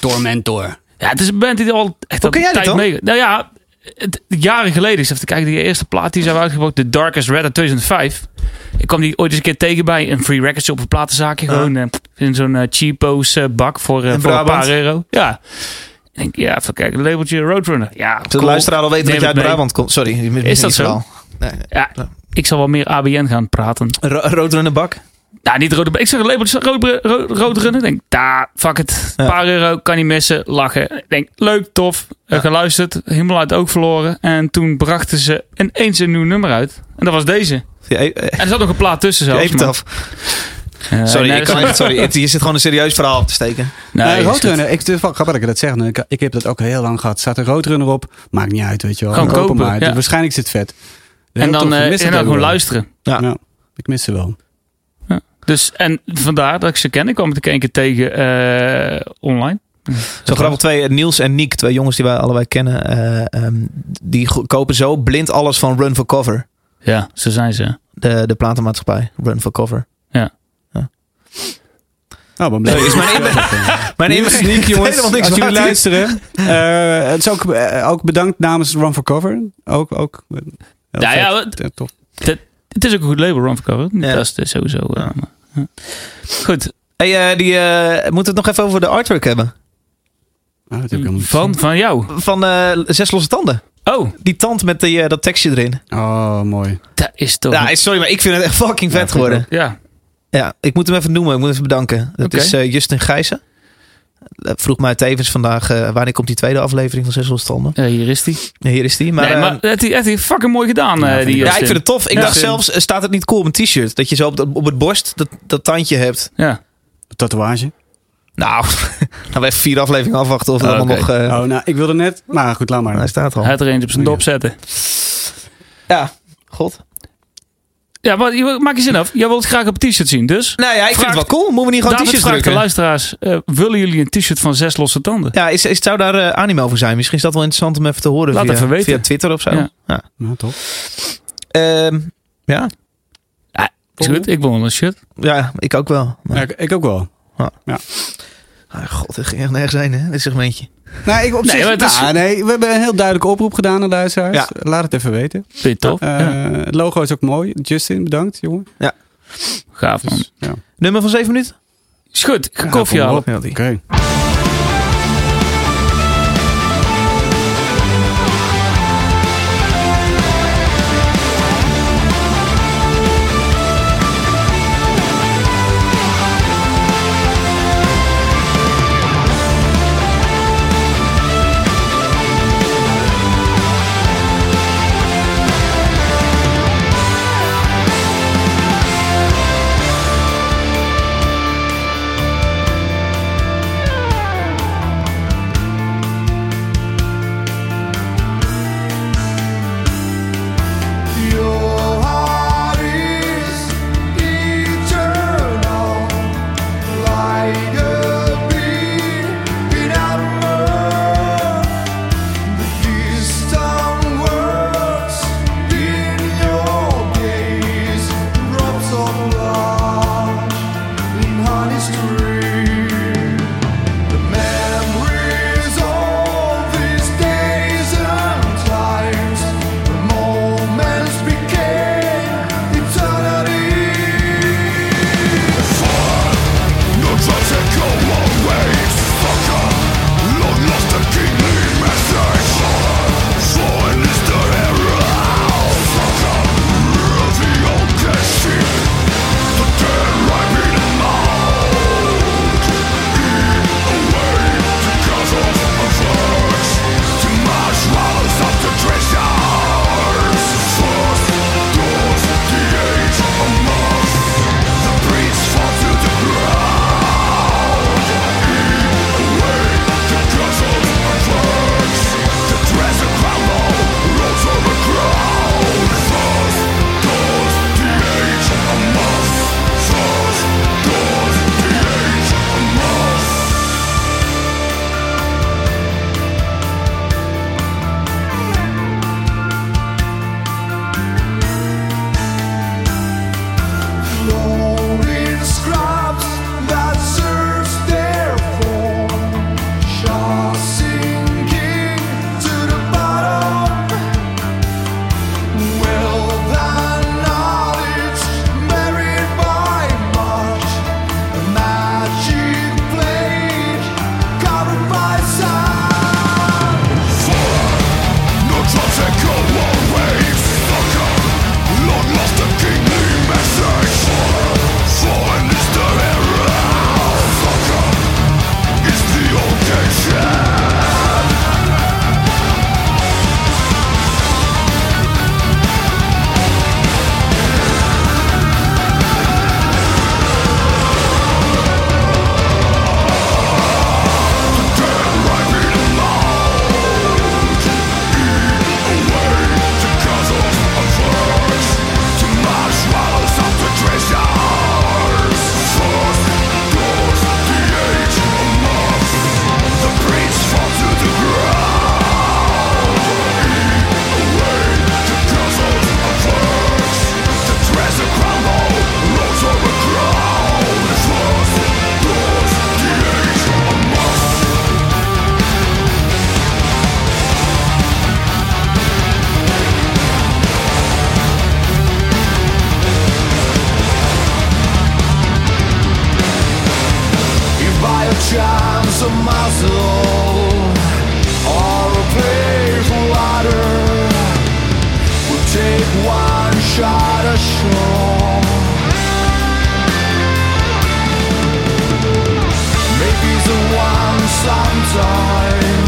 S2: Tormentor.
S3: ja, het is een band die al echt
S1: Hoe ken
S3: al
S1: jij dit dan?
S3: tijd mee... Nou ja, het, jaren geleden. Ik zat even te kijken. Die eerste plaat die ze hebben uitgebracht. The Darkest Red uit 2005. Ik kwam die ooit eens een keer tegen bij een free records op een platenzaakje. Gewoon eh, in zo'n eh, cheapo's eh, bak voor, eh,
S1: In
S3: voor een
S1: Brabant?
S3: paar euro. Ja. Ik denk, ja, even kijken. Labeltje Roadrunner. Ja,
S1: de
S3: cool.
S1: luisteraar al weten
S3: Neem
S1: dat jij
S3: het
S1: uit
S3: mee.
S1: Brabant komt. Sorry. je bent
S3: Is dat
S1: niet
S3: zo?
S1: verhaal. Nee, nee.
S3: Ja, ik zal wel meer ABN gaan praten.
S1: Ro- Roodrunnen bak.
S3: Nou, niet rode. Ik zeg een labeltje rood, rood, rood runnen. Ik denk, daar, fuck het. Een
S1: Ja.
S3: paar euro, kan niet missen. Lachen. Ik denk, leuk, tof. eh, geluisterd. Helemaal uit ook verloren. En toen brachten ze ineens een nieuw nummer uit. En dat was deze.
S1: Ja, eh, eh,
S3: En er zat nog een plaat tussen zelfs.
S1: Even
S3: maar-
S1: af.
S3: Eh,
S1: Sorry,
S3: nee,
S1: ik
S3: dat
S1: kan
S3: is-
S1: echt, sorry. Het- Je zit gewoon een serieus verhaal op te steken.
S3: Nee,
S2: Nee,
S3: is goed.
S2: Roadrunner. Ik, het is wel grappig dat ik dat zeg. Ik, ik heb dat ook heel lang gehad. Staat een Roadrunner op. Maakt niet uit, weet je wel.
S3: Gewoon
S2: Ik koop hem
S3: kopen,
S2: maar.
S3: ja.
S2: Dus waarschijnlijk zit het vet. Heel
S3: En dan,
S2: tof. Ik
S3: eh,
S2: mis
S3: en
S2: het
S3: dan
S2: ook
S3: gewoon
S2: wel.
S3: luisteren.
S1: Ja.
S2: Ja, ik mis ze wel.
S3: Dus, en vandaar dat ik ze ken. Ik kwam het een keer tegen eh, online.
S1: Zo grappig, twee, eh, Niels en Niek, twee jongens die wij allebei kennen, eh, ehm, die go- kopen zo blind alles van Run for Cover.
S3: Ja, zo zijn ze.
S1: De, de platenmaatschappij, Run for Cover.
S2: Nou, dan blijf
S1: Sorry, is mijn Mijn
S2: Niels, Niek, jongens,
S1: helemaal niks
S2: als jullie
S1: waard.
S2: luisteren. eh, het is ook, eh, ook bedankt namens Run for Cover. Ook, ook. eh, heel
S3: Nou ja,
S2: vet.
S3: wat-
S2: Eh, tof.
S3: Het is ook een goed label, Run for Cover.
S1: Ja.
S3: Dat is eh, sowieso. eh,
S1: Ja.
S3: maar- ja. Goed.
S1: Hey, eh, die, eh, moeten we het nog even over de artwork hebben?
S2: Ah, dat heb ik helemaal niet
S3: Van, van jou.
S1: Van eh, Zes Losse Tanden.
S3: Oh,
S1: Die tand met die, eh, dat tekstje erin.
S2: gezien. Oh, mooi.
S3: dat is toch...
S1: Ja, sorry, maar ik vind het echt fucking
S2: Ja,
S1: vet
S2: vind ik
S1: geworden.
S3: ja.
S1: Ja, ik moet hem even noemen. Ik moet even bedanken. Dat
S3: Oké.
S1: is eh, Justin Gijzen. Eh, Vroeg mij tevens vandaag, eh, wanneer komt die tweede aflevering van Zes Losse Tanden?
S3: Eh, hier is die.
S1: Ja, hier is die. Maar,
S3: Maar, nee,
S1: eh,
S3: maar het, heeft hij fucking mooi gedaan.
S2: Ja,
S3: eh,
S2: vind
S3: die
S2: ik
S1: Ja,
S3: Justin.
S1: ik vind het tof. Ik
S3: Ja.
S1: dacht zelfs, eh, staat het niet cool op een t-shirt? Dat je zo op, dat- op het borst dat, dat tandje hebt.
S3: Ja.
S2: Tatoeage.
S1: Nou, nou we even vier afleveringen afwachten of het
S3: Oh,
S1: allemaal
S3: oké.
S1: nog... eh,
S2: Oh, nou, ik wilde net. Maar goed, laat
S1: Hij
S2: maar.
S1: staat al.
S3: Hij had er eentje op zijn dop zetten.
S1: Ja, god.
S3: Ja, maar je- maak je zin af. Jij wilt het graag op een t-shirt zien, dus...
S1: Nou ja, ik vind
S3: Vraagt-
S1: het wel cool. Moeten we niet gewoon
S3: David
S1: t-shirts
S3: vraagt de
S1: drukken?
S3: luisteraars, eh, willen jullie een t-shirt van zes losse tanden?
S1: Ja, is, is, zou daar eh, animo voor zijn? Misschien is dat wel interessant om even te horen
S3: Laat
S1: via,
S3: even weten.
S1: via Twitter of zo.
S3: Ja.
S1: Ja.
S2: Nou, tof.
S1: Ehm, ja.
S3: Is goed, ik wil wel een shirt.
S1: ja, ik ook wel. Maar,
S2: Ja, Nou, ik, ik ook wel.
S1: ah, god, het ging echt nergens heen, hè? Dit segmentje.
S2: Nou, ik op
S3: Nee,
S2: zich,
S3: maar het is-
S2: nou, nee, we hebben een heel duidelijke oproep gedaan aan de luisteraars.
S1: Ja.
S2: Laat het even weten.
S3: Vind je het tof?
S2: Eh,
S3: ja.
S2: Het logo is ook mooi. Justin, bedankt, jongen.
S3: Gaaf, man.
S2: Dus, ja.
S1: Nummer van 7 minuten?
S3: Is goed, ik ga koffie
S2: kom maar
S3: halen.
S2: op. Oké.
S5: Thank
S6: oh, a muzzle or a place water will take one shot ashore. Maybe the one sometime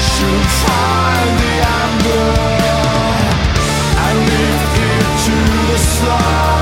S6: should find the anger and lift it to the sky.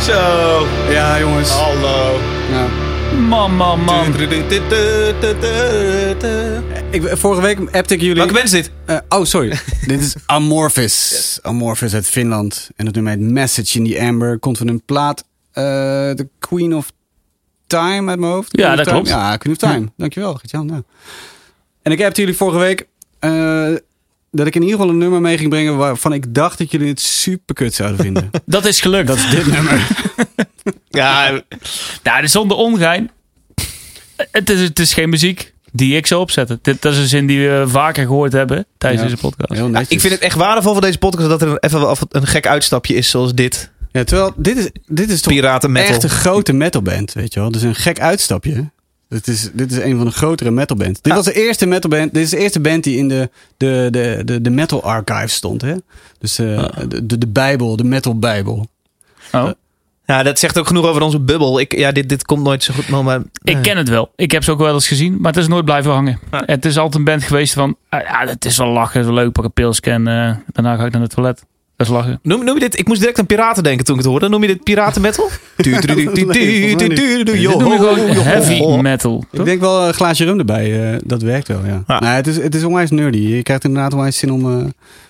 S1: Zo.
S2: Ja, jongens.
S1: Hallo.
S2: Ja.
S3: Man, man, man.
S2: Ik, vorige week appte ik jullie...
S1: Welke band is dit?
S2: Eh, oh, sorry. Dit is Amorphis. Amorphis uit Finland. En het nummer heet Message in the Amber. Komt van hun plaat eh, The Queen of Time uit mijn hoofd.
S3: Ja,
S2: Queen of
S3: dat
S2: Time?
S3: klopt.
S2: Ja, Queen of Time. Dankjewel, Gertjan. Ja. En ik appte jullie vorige week eh, dat ik in ieder geval een nummer mee ging brengen... waarvan ik dacht dat jullie het superkut zouden vinden.
S3: Dat is gelukt.
S2: dat is dit nummer.
S1: Ja,
S3: Nou, dus zonder ongein. Het is, het is geen muziek die ik zou opzetten. Dit dat is een zin die we vaker gehoord hebben tijdens
S2: Ja.
S3: deze podcast.
S2: Heel netjes.
S1: ik vind het echt waardevol voor deze podcast dat er even wel een gek uitstapje is zoals dit.
S2: Ja, terwijl, dit is, dit is toch
S1: Piraten metal.
S2: echt een grote metalband, weet je wel. Dus een gek uitstapje. Dit is, dit is een van de grotere metalbands. Dit was de eerste metalband. Dit is de eerste band die in de, de, de, de, de metal archive stond. Hè? Dus eh, de, de, de Bijbel, de metal Bijbel.
S3: Oh.
S1: Ja, dat zegt ook genoeg over onze bubbel. Ik, ja, dit, dit komt nooit zo goed. Maar, maar-
S3: Ik ken het wel. Ik heb ze ook wel eens gezien, maar het is nooit blijven hangen.
S1: Ja.
S3: Het is altijd een band geweest van, ah, ja, het is wel lachen, zo leuk, pak een pilsje en eh, daarna ga ik naar het toilet. Dat is lachen.
S1: Noem, noem je dit? Ik moest direct aan piraten denken toen ik het hoorde. Noem je dit piraten metal? Du- du- du- du- du- du- du- du- du-
S2: Dit
S3: Noem
S1: joh. Oh,
S3: je gewoon heavy metal.
S2: Ik
S3: toch?
S2: denk wel een glaasje rum erbij. eh, dat werkt wel, ja.
S1: Ja.
S2: Nou, het, is, het is onwijs nerdy. Je krijgt inderdaad onwijs zin om eh,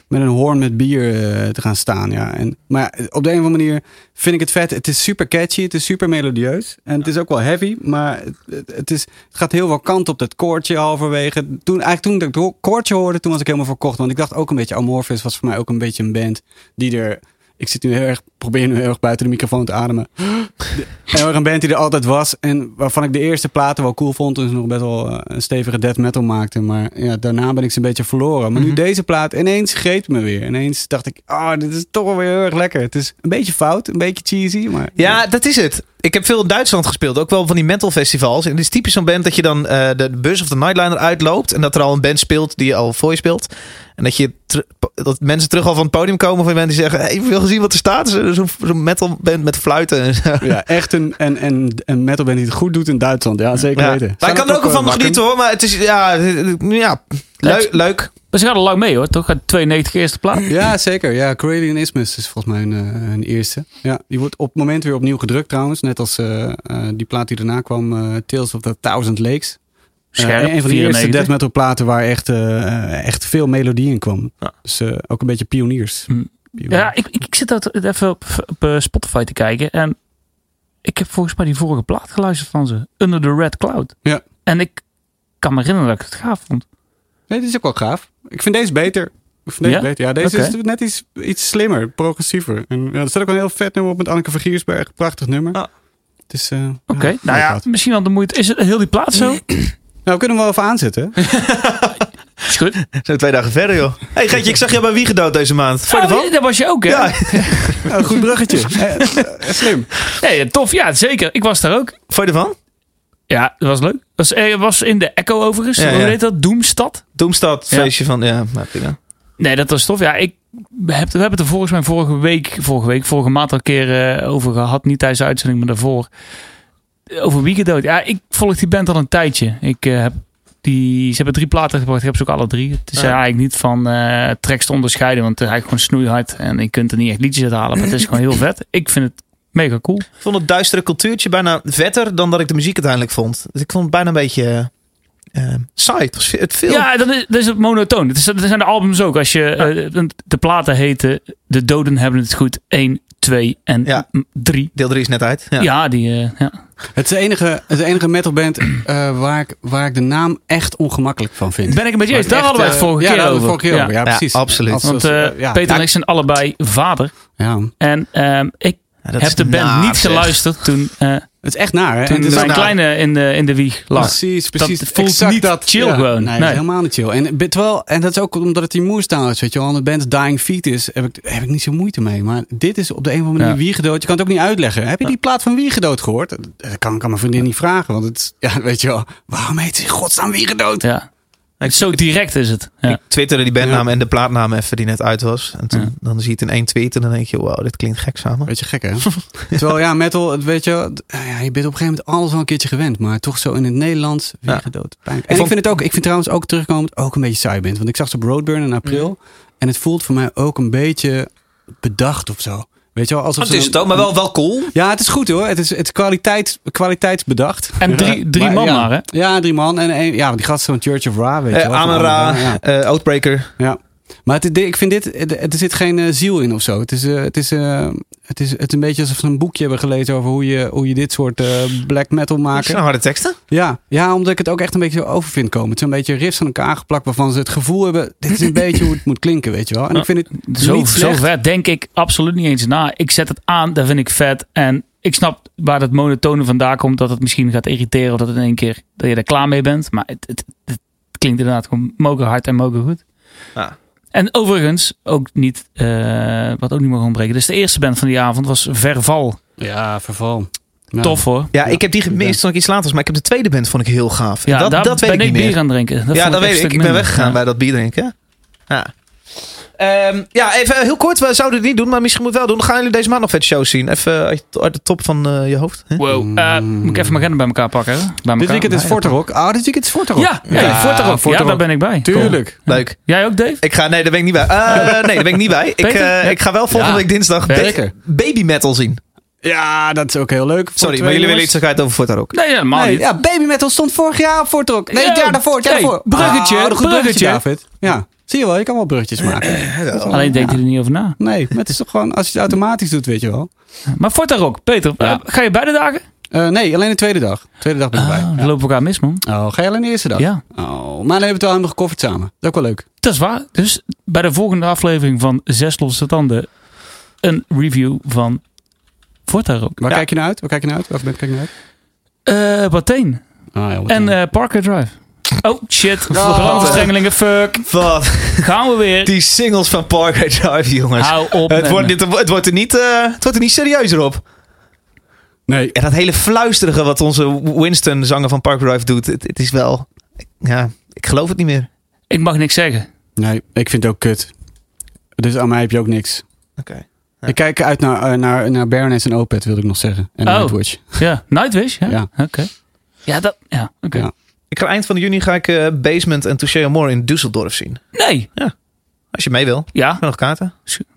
S2: met een hoorn met bier eh, te gaan staan. Ja. En, maar op de een of andere manier vind ik het vet. Het is super catchy. Het is super melodieus. En het is ook wel heavy. Maar het, het, is, het gaat heel veel kant op dat koortje halverwege. Toen, eigenlijk toen ik dat ho- koortje hoorde, toen was ik helemaal verkocht. Want ik dacht ook een beetje... Amorphis was voor mij ook een beetje een band die er... Ik zit nu heel erg, probeer nu heel erg buiten de microfoon te ademen. En ook een band die er altijd was. En waarvan ik de eerste platen wel cool vond. Toen ze nog best wel eh, een stevige death metal maakten. Maar ja, daarna ben ik ze een beetje verloren.
S1: Mhm.
S2: Maar nu deze plaat, ineens greep me weer. Ineens dacht ik, ah, dit is toch wel weer heel erg lekker. Het is een beetje fout, een beetje cheesy. Maar
S1: Ja, dat is het. ik heb veel in Duitsland gespeeld. Ook wel van die metal festivals. En het is typisch zo'n band dat je dan eh, de bus of de nightliner uitloopt. En dat er al een band speelt die je al voor je speelt. En dat, je ter- dat mensen terug al van het podium komen. Van mensen die zeggen, hey, heb je veel gezien wat er staat? Zo- Zo'n zo'n metal band met fluiten en zo.
S2: Ja, echt een, en, en, een metalband die het goed doet in Duitsland. Ja, zeker
S1: Ja.
S2: weten.
S1: Maar ik
S2: Zou
S1: kan er
S2: dat
S1: ook wel
S2: toch,
S1: van
S2: eh,
S1: genieten hoor. Maar het is, ja, ja leuk.
S3: Het-
S1: leuk.
S3: Maar ze gaan er lang mee hoor, toch? Gaat 92 eerste plaats.
S2: Ja, zeker. Ja, Corellian Isthmus is volgens mij een, eh, een eerste. Ja, die wordt op het moment weer opnieuw gedrukt trouwens. Net als eh, eh, die plaat die daarna kwam, eh, Tales of the Thousand Lakes. Eh,
S3: Scherp,
S2: een van de eerste
S3: 94.
S2: death metal platen waar echt, eh, eh, echt veel melodie in kwam.
S1: Ja.
S2: Dus eh, ook een beetje pioniers.
S3: Hm.
S2: Pioniers.
S3: Ja, ik, ik, ik zit dat even op, op eh, Spotify te kijken. En ik heb volgens mij die vorige plaat geluisterd van ze. Under the Red Cloud.
S2: Ja.
S3: En ik kan me herinneren dat ik het gaaf vond.
S2: Nee, dit is ook wel gaaf. Ik vind deze beter. Ik vind deze
S3: Ja?
S2: beter. Ja, deze
S3: Oké.
S2: is net iets, iets slimmer, progressiever. En ja, er staat ook een heel vet nummer op met Anneke van Giersberg. Prachtig nummer.
S1: Ah.
S2: Het is, eh,
S3: Oké,
S2: ja,
S3: nou ja,
S2: inderdaad.
S3: misschien wel de moeite. Is het heel die plaat zo?
S2: Nou, we kunnen hem wel even aanzetten.
S3: Is goed.
S1: Zijn twee dagen verder joh. hey, Geetje, ik zag jou bij wie gedood deze maand. Vond je
S3: Oh,
S1: ervan?
S3: dat was je ook, hè?
S1: Ja.
S2: Een goed bruggetje. Eh, eh, Slim.
S3: Nee, tof. Ja, zeker. Ik was daar ook.
S1: Vond je ervan?
S3: Ja, dat was leuk. Dat was, eh, was in de Echo overigens.
S1: Ja,
S3: Hoe
S1: ja.
S3: heet dat? Doemstad.
S1: Doemstad,
S3: Ja.
S1: feestje van... Ja, nou, prima.
S3: Nee, dat was tof. Ja, ik heb, we hebben het er volgens mij vorige week, vorige week, vorige maand al een keer eh, over gehad. Niet tijdens de uitzending, maar daarvoor. Eh, Over Weekend Ja, ik volg die band al een tijdje. Ik eh, heb die, ze hebben drie platen gebracht. Ik heb ze ook alle drie. Het is
S1: Ja.
S3: eigenlijk niet van eh tracks te onderscheiden, want het is eigenlijk gewoon snoeihard. En je kunt er niet echt liedjes uit halen, maar het is gewoon heel vet. Ik vind het mega cool.
S1: Ik vond het duistere cultuurtje bijna vetter dan dat ik de muziek uiteindelijk vond. Dus ik vond het bijna een beetje eh, saai. Het was ve- het veel.
S3: Ja, dat is, dat is het monotoon. Dat, is, dat zijn de albums ook. Als je, eh, want de platen heten De Doden hebben het goed 1, 2 en
S1: Ja.
S3: 3.
S1: Deel 3 is net uit. Ja.
S3: Ja. die... eh, ja.
S2: Het is de enige, het is de enige metalband eh, waar, ik, waar ik de naam echt ongemakkelijk van vind.
S3: Ben ik het met je eens?
S2: Waar
S3: Daar
S2: ik
S3: hadden we het
S2: echt, eh,
S3: vorige
S2: ja,
S3: keer
S2: daar hadden
S3: over.
S2: we het vorige keer
S3: Ja.
S2: over. Ja,
S1: Ja,
S2: precies.
S1: absolet.
S2: Als-
S3: Want
S2: als-
S3: eh,
S2: ja,
S3: Peter en
S2: ja,
S3: ik zijn allebei vader.
S2: ja.
S3: En ehm, ik
S1: Ja, dat
S3: heb
S1: is
S3: de band
S1: naar,
S3: niet
S1: zeg.
S3: geluisterd toen, eh,
S2: Het is echt naar, hè? En
S3: toen
S2: het is
S3: mijn
S1: naar.
S3: kleine in de, in de wieg lag.
S2: Precies,
S3: Dat
S2: precies.
S3: voelt
S2: Exact
S3: niet chill gewoon.
S2: Nee,
S3: Nee.
S2: helemaal niet chill. En, be- terwijl, en dat is ook omdat het die moerstaal is, weet je wel. En de band Dying Feet is, heb ik, heb ik niet zo moeite mee. Maar dit is op de een of andere manier
S3: Ja.
S2: Wiegedood. Je kan het ook niet uitleggen. Heb je die plaat van Wiegedood gehoord? Dat eh, kan ik aan mijn vriendin niet vragen. Want het, is- ja, weet je wel, waarom heet ze in godsnaam Wiegedood?
S3: Ja. Zo direct is het. Ja.
S1: Ik twitterde die bandnaam en de plaatnaam even die net uit was. En toen,
S3: Ja.
S1: dan zie je het in één tweet en dan denk je, wow, dit klinkt gek samen.
S2: Beetje gek, hè? Terwijl, ja, metal, het weet je, wel, d- ja, je bent op een gegeven moment alles wel een keertje gewend. Maar toch zo in het Nederlands, weer
S1: Ja.
S2: gedood. Pijnlijk. En ik,
S1: vond-
S2: vind het ook, ik vind trouwens ook terugkomend ook een beetje saai bent. Want ik zag ze op Roadburn in april.
S1: Mm.
S2: En het voelt voor mij ook een beetje bedacht of zo. Weet je wel, alsof
S1: Oh,
S2: ze dan-
S1: wel cool.
S2: Ja, het is goed hoor. Het is, het is kwaliteit, kwaliteitsbedacht.
S3: En drie, drie man
S2: ja.
S3: maar, hè?
S2: Ja, drie man. En één, ja, die gast van Church of Ra, weet je wel.
S1: Amen
S2: Van
S1: Ra,
S2: Amen Ra, ja.
S1: eh, Outbreaker.
S2: Ja, maar het, ik vind dit, er zit geen eh, ziel in of zo. Het is, eh, het, is, eh, het, is, het is een beetje alsof we een boekje hebben gelezen over hoe je, hoe je dit soort eh, black metal
S1: Dat zijn
S2: maken.
S1: harde teksten.
S2: Ja, ja, omdat ik het ook echt een beetje zo over vind komen. Het zijn een beetje riffs aan elkaar geplakt waarvan ze het gevoel hebben, dit is een beetje hoe het moet klinken, weet je wel. En ik vind het
S3: Zo,
S2: niet
S3: zo
S2: slecht.
S3: vet denk ik absoluut niet eens na. Ik zet het aan, dat vind ik vet. En ik snap waar dat monotone vandaan komt. Dat het misschien gaat irriteren. Of dat het in één keer dat je er klaar mee bent. Maar het, het, het klinkt inderdaad gewoon mogen hard en mogen goed.
S1: Ja.
S3: En overigens, ook niet, eh, wat ook niet mag ontbreken. Dus de eerste band van die avond was Verval.
S2: Ja, verval. Ja.
S3: Tof hoor.
S1: Ja, ik heb die gemist toen ik iets later was. Maar ik heb de tweede band vond ik heel gaaf. En
S3: Ja,
S1: dat,
S3: daar
S1: dat weet
S3: ben
S1: ik niet
S3: ik
S1: meer.
S3: bier aan het drinken. Dat
S1: ja,
S3: vond
S1: dat
S3: ik echt
S1: weet ik.
S3: een stuk
S1: Ik ben
S3: minder.
S1: weggegaan
S3: Ja.
S1: bij dat bier drinken. Ja. Ehm, ja, even heel kort. We zouden het niet doen, maar misschien moeten we het wel doen. Dan gaan jullie deze maand nog vet shows zien. Even eh, uit, uit de top van eh, je hoofd. Hè?
S3: Wow. Eh, moet ik even mijn agenda bij elkaar pakken? hè? Bij
S1: Dus
S2: Dit
S3: elkaar?
S2: weekend is Forterok. Ah, dit weekend is Forterok.
S3: Ja, ja, ja, Fortarok. Ja, daar ben ik bij.
S2: Tuurlijk.
S1: Leuk.
S3: Cool. Jij ook, Dave?
S1: Ik ga, nee, daar ben ik niet bij. Eh, nee, daar ben ik niet bij. Ik,
S3: Peter?
S1: eh,
S3: Ja.
S1: ik ga wel volgende
S2: Ja.
S1: week dinsdag ba-
S2: Zeker.
S1: baby metal zien.
S2: Ja, dat is ook heel leuk. Voor
S1: Sorry,
S2: twee
S1: maar jullie willen
S2: jongens.
S1: iets kwijt over Fortar ook.
S3: Nee, nee, helemaal
S2: Nee,
S3: niet.
S2: ja, Baby Metal stond vorig jaar op Fortrok. Nee, het
S3: Ja.
S2: jaar daarvoor. Het jaar
S3: Hey,
S2: daarvoor.
S3: bruggetje,
S2: Ah, wat een goed
S3: bruggetje.
S2: David. Ja, zie je wel. Je kan wel bruggetjes maken.
S3: Alleen denkt hij er niet over na.
S2: Nee, maar het is toch gewoon als je het automatisch doet, weet je wel.
S3: Maar Forta Rock, Peter,
S2: Ja.
S3: eh, ga je beide dagen?
S2: Eh, nee, alleen de tweede dag. Tweede dag ben ik
S3: Dan
S2: bij.
S3: lopen we elkaar mis, man.
S2: Oh, ga je alleen de eerste dag?
S3: Ah, Ja.
S2: Oh, maar dan hebben we het wel helemaal gekofferd samen. Dat is ook wel leuk.
S3: Dat is waar. Dus bij de volgende aflevering van Zes Losse Tanden een review van Forta Rock.
S2: Waar
S1: Ja.
S2: kijk je naar uit? Waar kijk je naar uit? Welke band kijk je naar uit?
S3: Eh Bateen
S2: Ah, ja, wat
S3: en
S2: dan.
S3: eh, Parker Drive. Oh shit, brandstrengelingen, fuck.
S1: Wat?
S3: Gaan we weer.
S1: Die singles van Parker Drive, jongens.
S3: Hou op.
S1: Het
S3: met
S1: wordt,
S3: me.
S1: dit, het, wordt er niet, eh, het wordt er niet serieuzer op.
S2: Nee.
S1: Ja, dat hele fluisterige wat onze Winston, zanger van Park Drive, doet. Het, het is wel... Ja, ik geloof het niet meer.
S3: Ik mag niks zeggen.
S2: Nee, ik vind het ook kut. Dus aan mij heb je ook niks.
S1: Oké. Ja.
S2: Ik kijk uit naar, eh, naar, naar Baroness en Opeth, wilde ik nog zeggen. En
S3: Oh.
S2: Nightwatch.
S3: Ja, Nightwish? Ja.
S2: Ja.
S3: Oké. Ja, dat... Ja, oké.
S2: Ja.
S1: Ik ga eind van juni ga ik eh, Basement en Touché Amor in Düsseldorf zien.
S3: Nee.
S1: Als je mee wil. Heb
S3: Ja.
S1: je nog kaarten?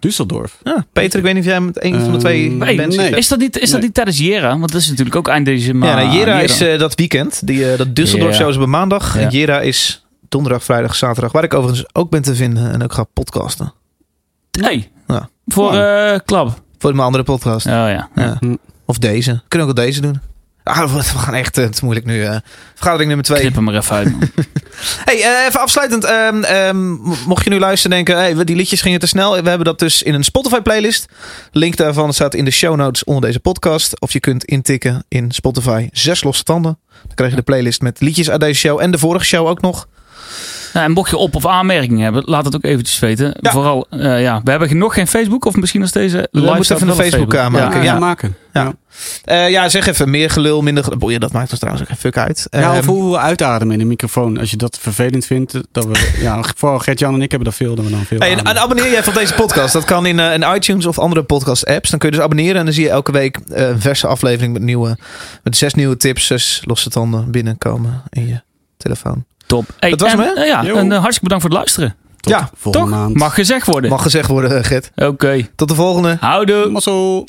S2: Düsseldorf.
S1: Ja, Peter, ik weet niet of jij met een van de
S2: Ehm,
S1: twee
S3: Hey,
S1: bands
S2: nee.
S1: zit.
S3: Is dat niet, is dat
S2: Nee.
S3: niet tijdens Jera? Want dat is natuurlijk ook eind deze maand.
S1: Ja, nou, Jera is eh, dat weekend. Die, eh, dat Düsseldorf
S3: Ja.
S1: show is op een maandag.
S3: Ja.
S1: En Jera is donderdag, vrijdag, zaterdag. Waar ik overigens ook ben te vinden. En ook ga podcasten.
S3: Nee.
S1: Ja.
S3: Voor eh klap.
S1: Voor mijn andere podcast.
S3: Oh ja.
S1: Ja. Of deze. Kunnen we ook wel deze doen. Ah, we gaan echt, eh, het is moeilijk nu. eh vergadering nummer twee.
S3: Knip hem er even uit, man.
S1: Hey, eh, even afsluitend. ehm, ehm, mo- mocht je nu luisteren en denken, hey, we- die liedjes gingen te snel. We hebben dat dus in een Spotify playlist. Link daarvan staat in de show notes onder deze podcast. Of je kunt intikken in Spotify zes losse tanden. Dan krijg je de playlist met liedjes uit deze show en de vorige show ook nog.
S3: Nou, en mocht je op- of aanmerkingen hebben, laat het ook eventjes weten.
S1: Ja.
S3: Vooral, eh, ja, we hebben nog geen Facebook, of misschien als deze live
S1: moeten
S3: staat
S1: even
S3: wel
S1: een
S3: op
S1: Facebook
S3: Ja.
S1: aanmaken.
S2: Ja,
S1: ja.
S2: maken.
S1: Ja.
S2: Ja.
S1: Eh, ja, zeg even, meer gelul, minder gelul. Boeien, dat maakt ons trouwens ook geen fuck uit.
S2: Ja, of
S1: Ehm,
S2: Nou, hoe we uitademen in de microfoon. Als je dat vervelend vindt. Dat we, ja, vooral Gert-Jan en ik hebben dat veel. Dat we dan veel
S1: Hey, en,
S2: ademen.
S1: en abonneer jij van deze podcast. Dat kan in, eh, in iTunes of andere podcast apps. Dan kun je dus abonneren en dan zie je elke week eh, een verse aflevering met, nieuwe, met zes nieuwe tips, zes losse tanden binnenkomen in je telefoon.
S3: Top. Hey,
S1: Dat was
S3: en,
S1: hem, hè?
S3: eh, ja,
S2: Yo.
S3: en eh, hartstikke bedankt voor het luisteren.
S2: Tot
S1: ja,
S2: volgende
S3: Toch?
S2: maand.
S3: Mag gezegd worden.
S1: Mag gezegd worden, eh, Gert.
S3: Oké.
S1: Tot de volgende.
S3: Houdoe.
S2: Mazzel.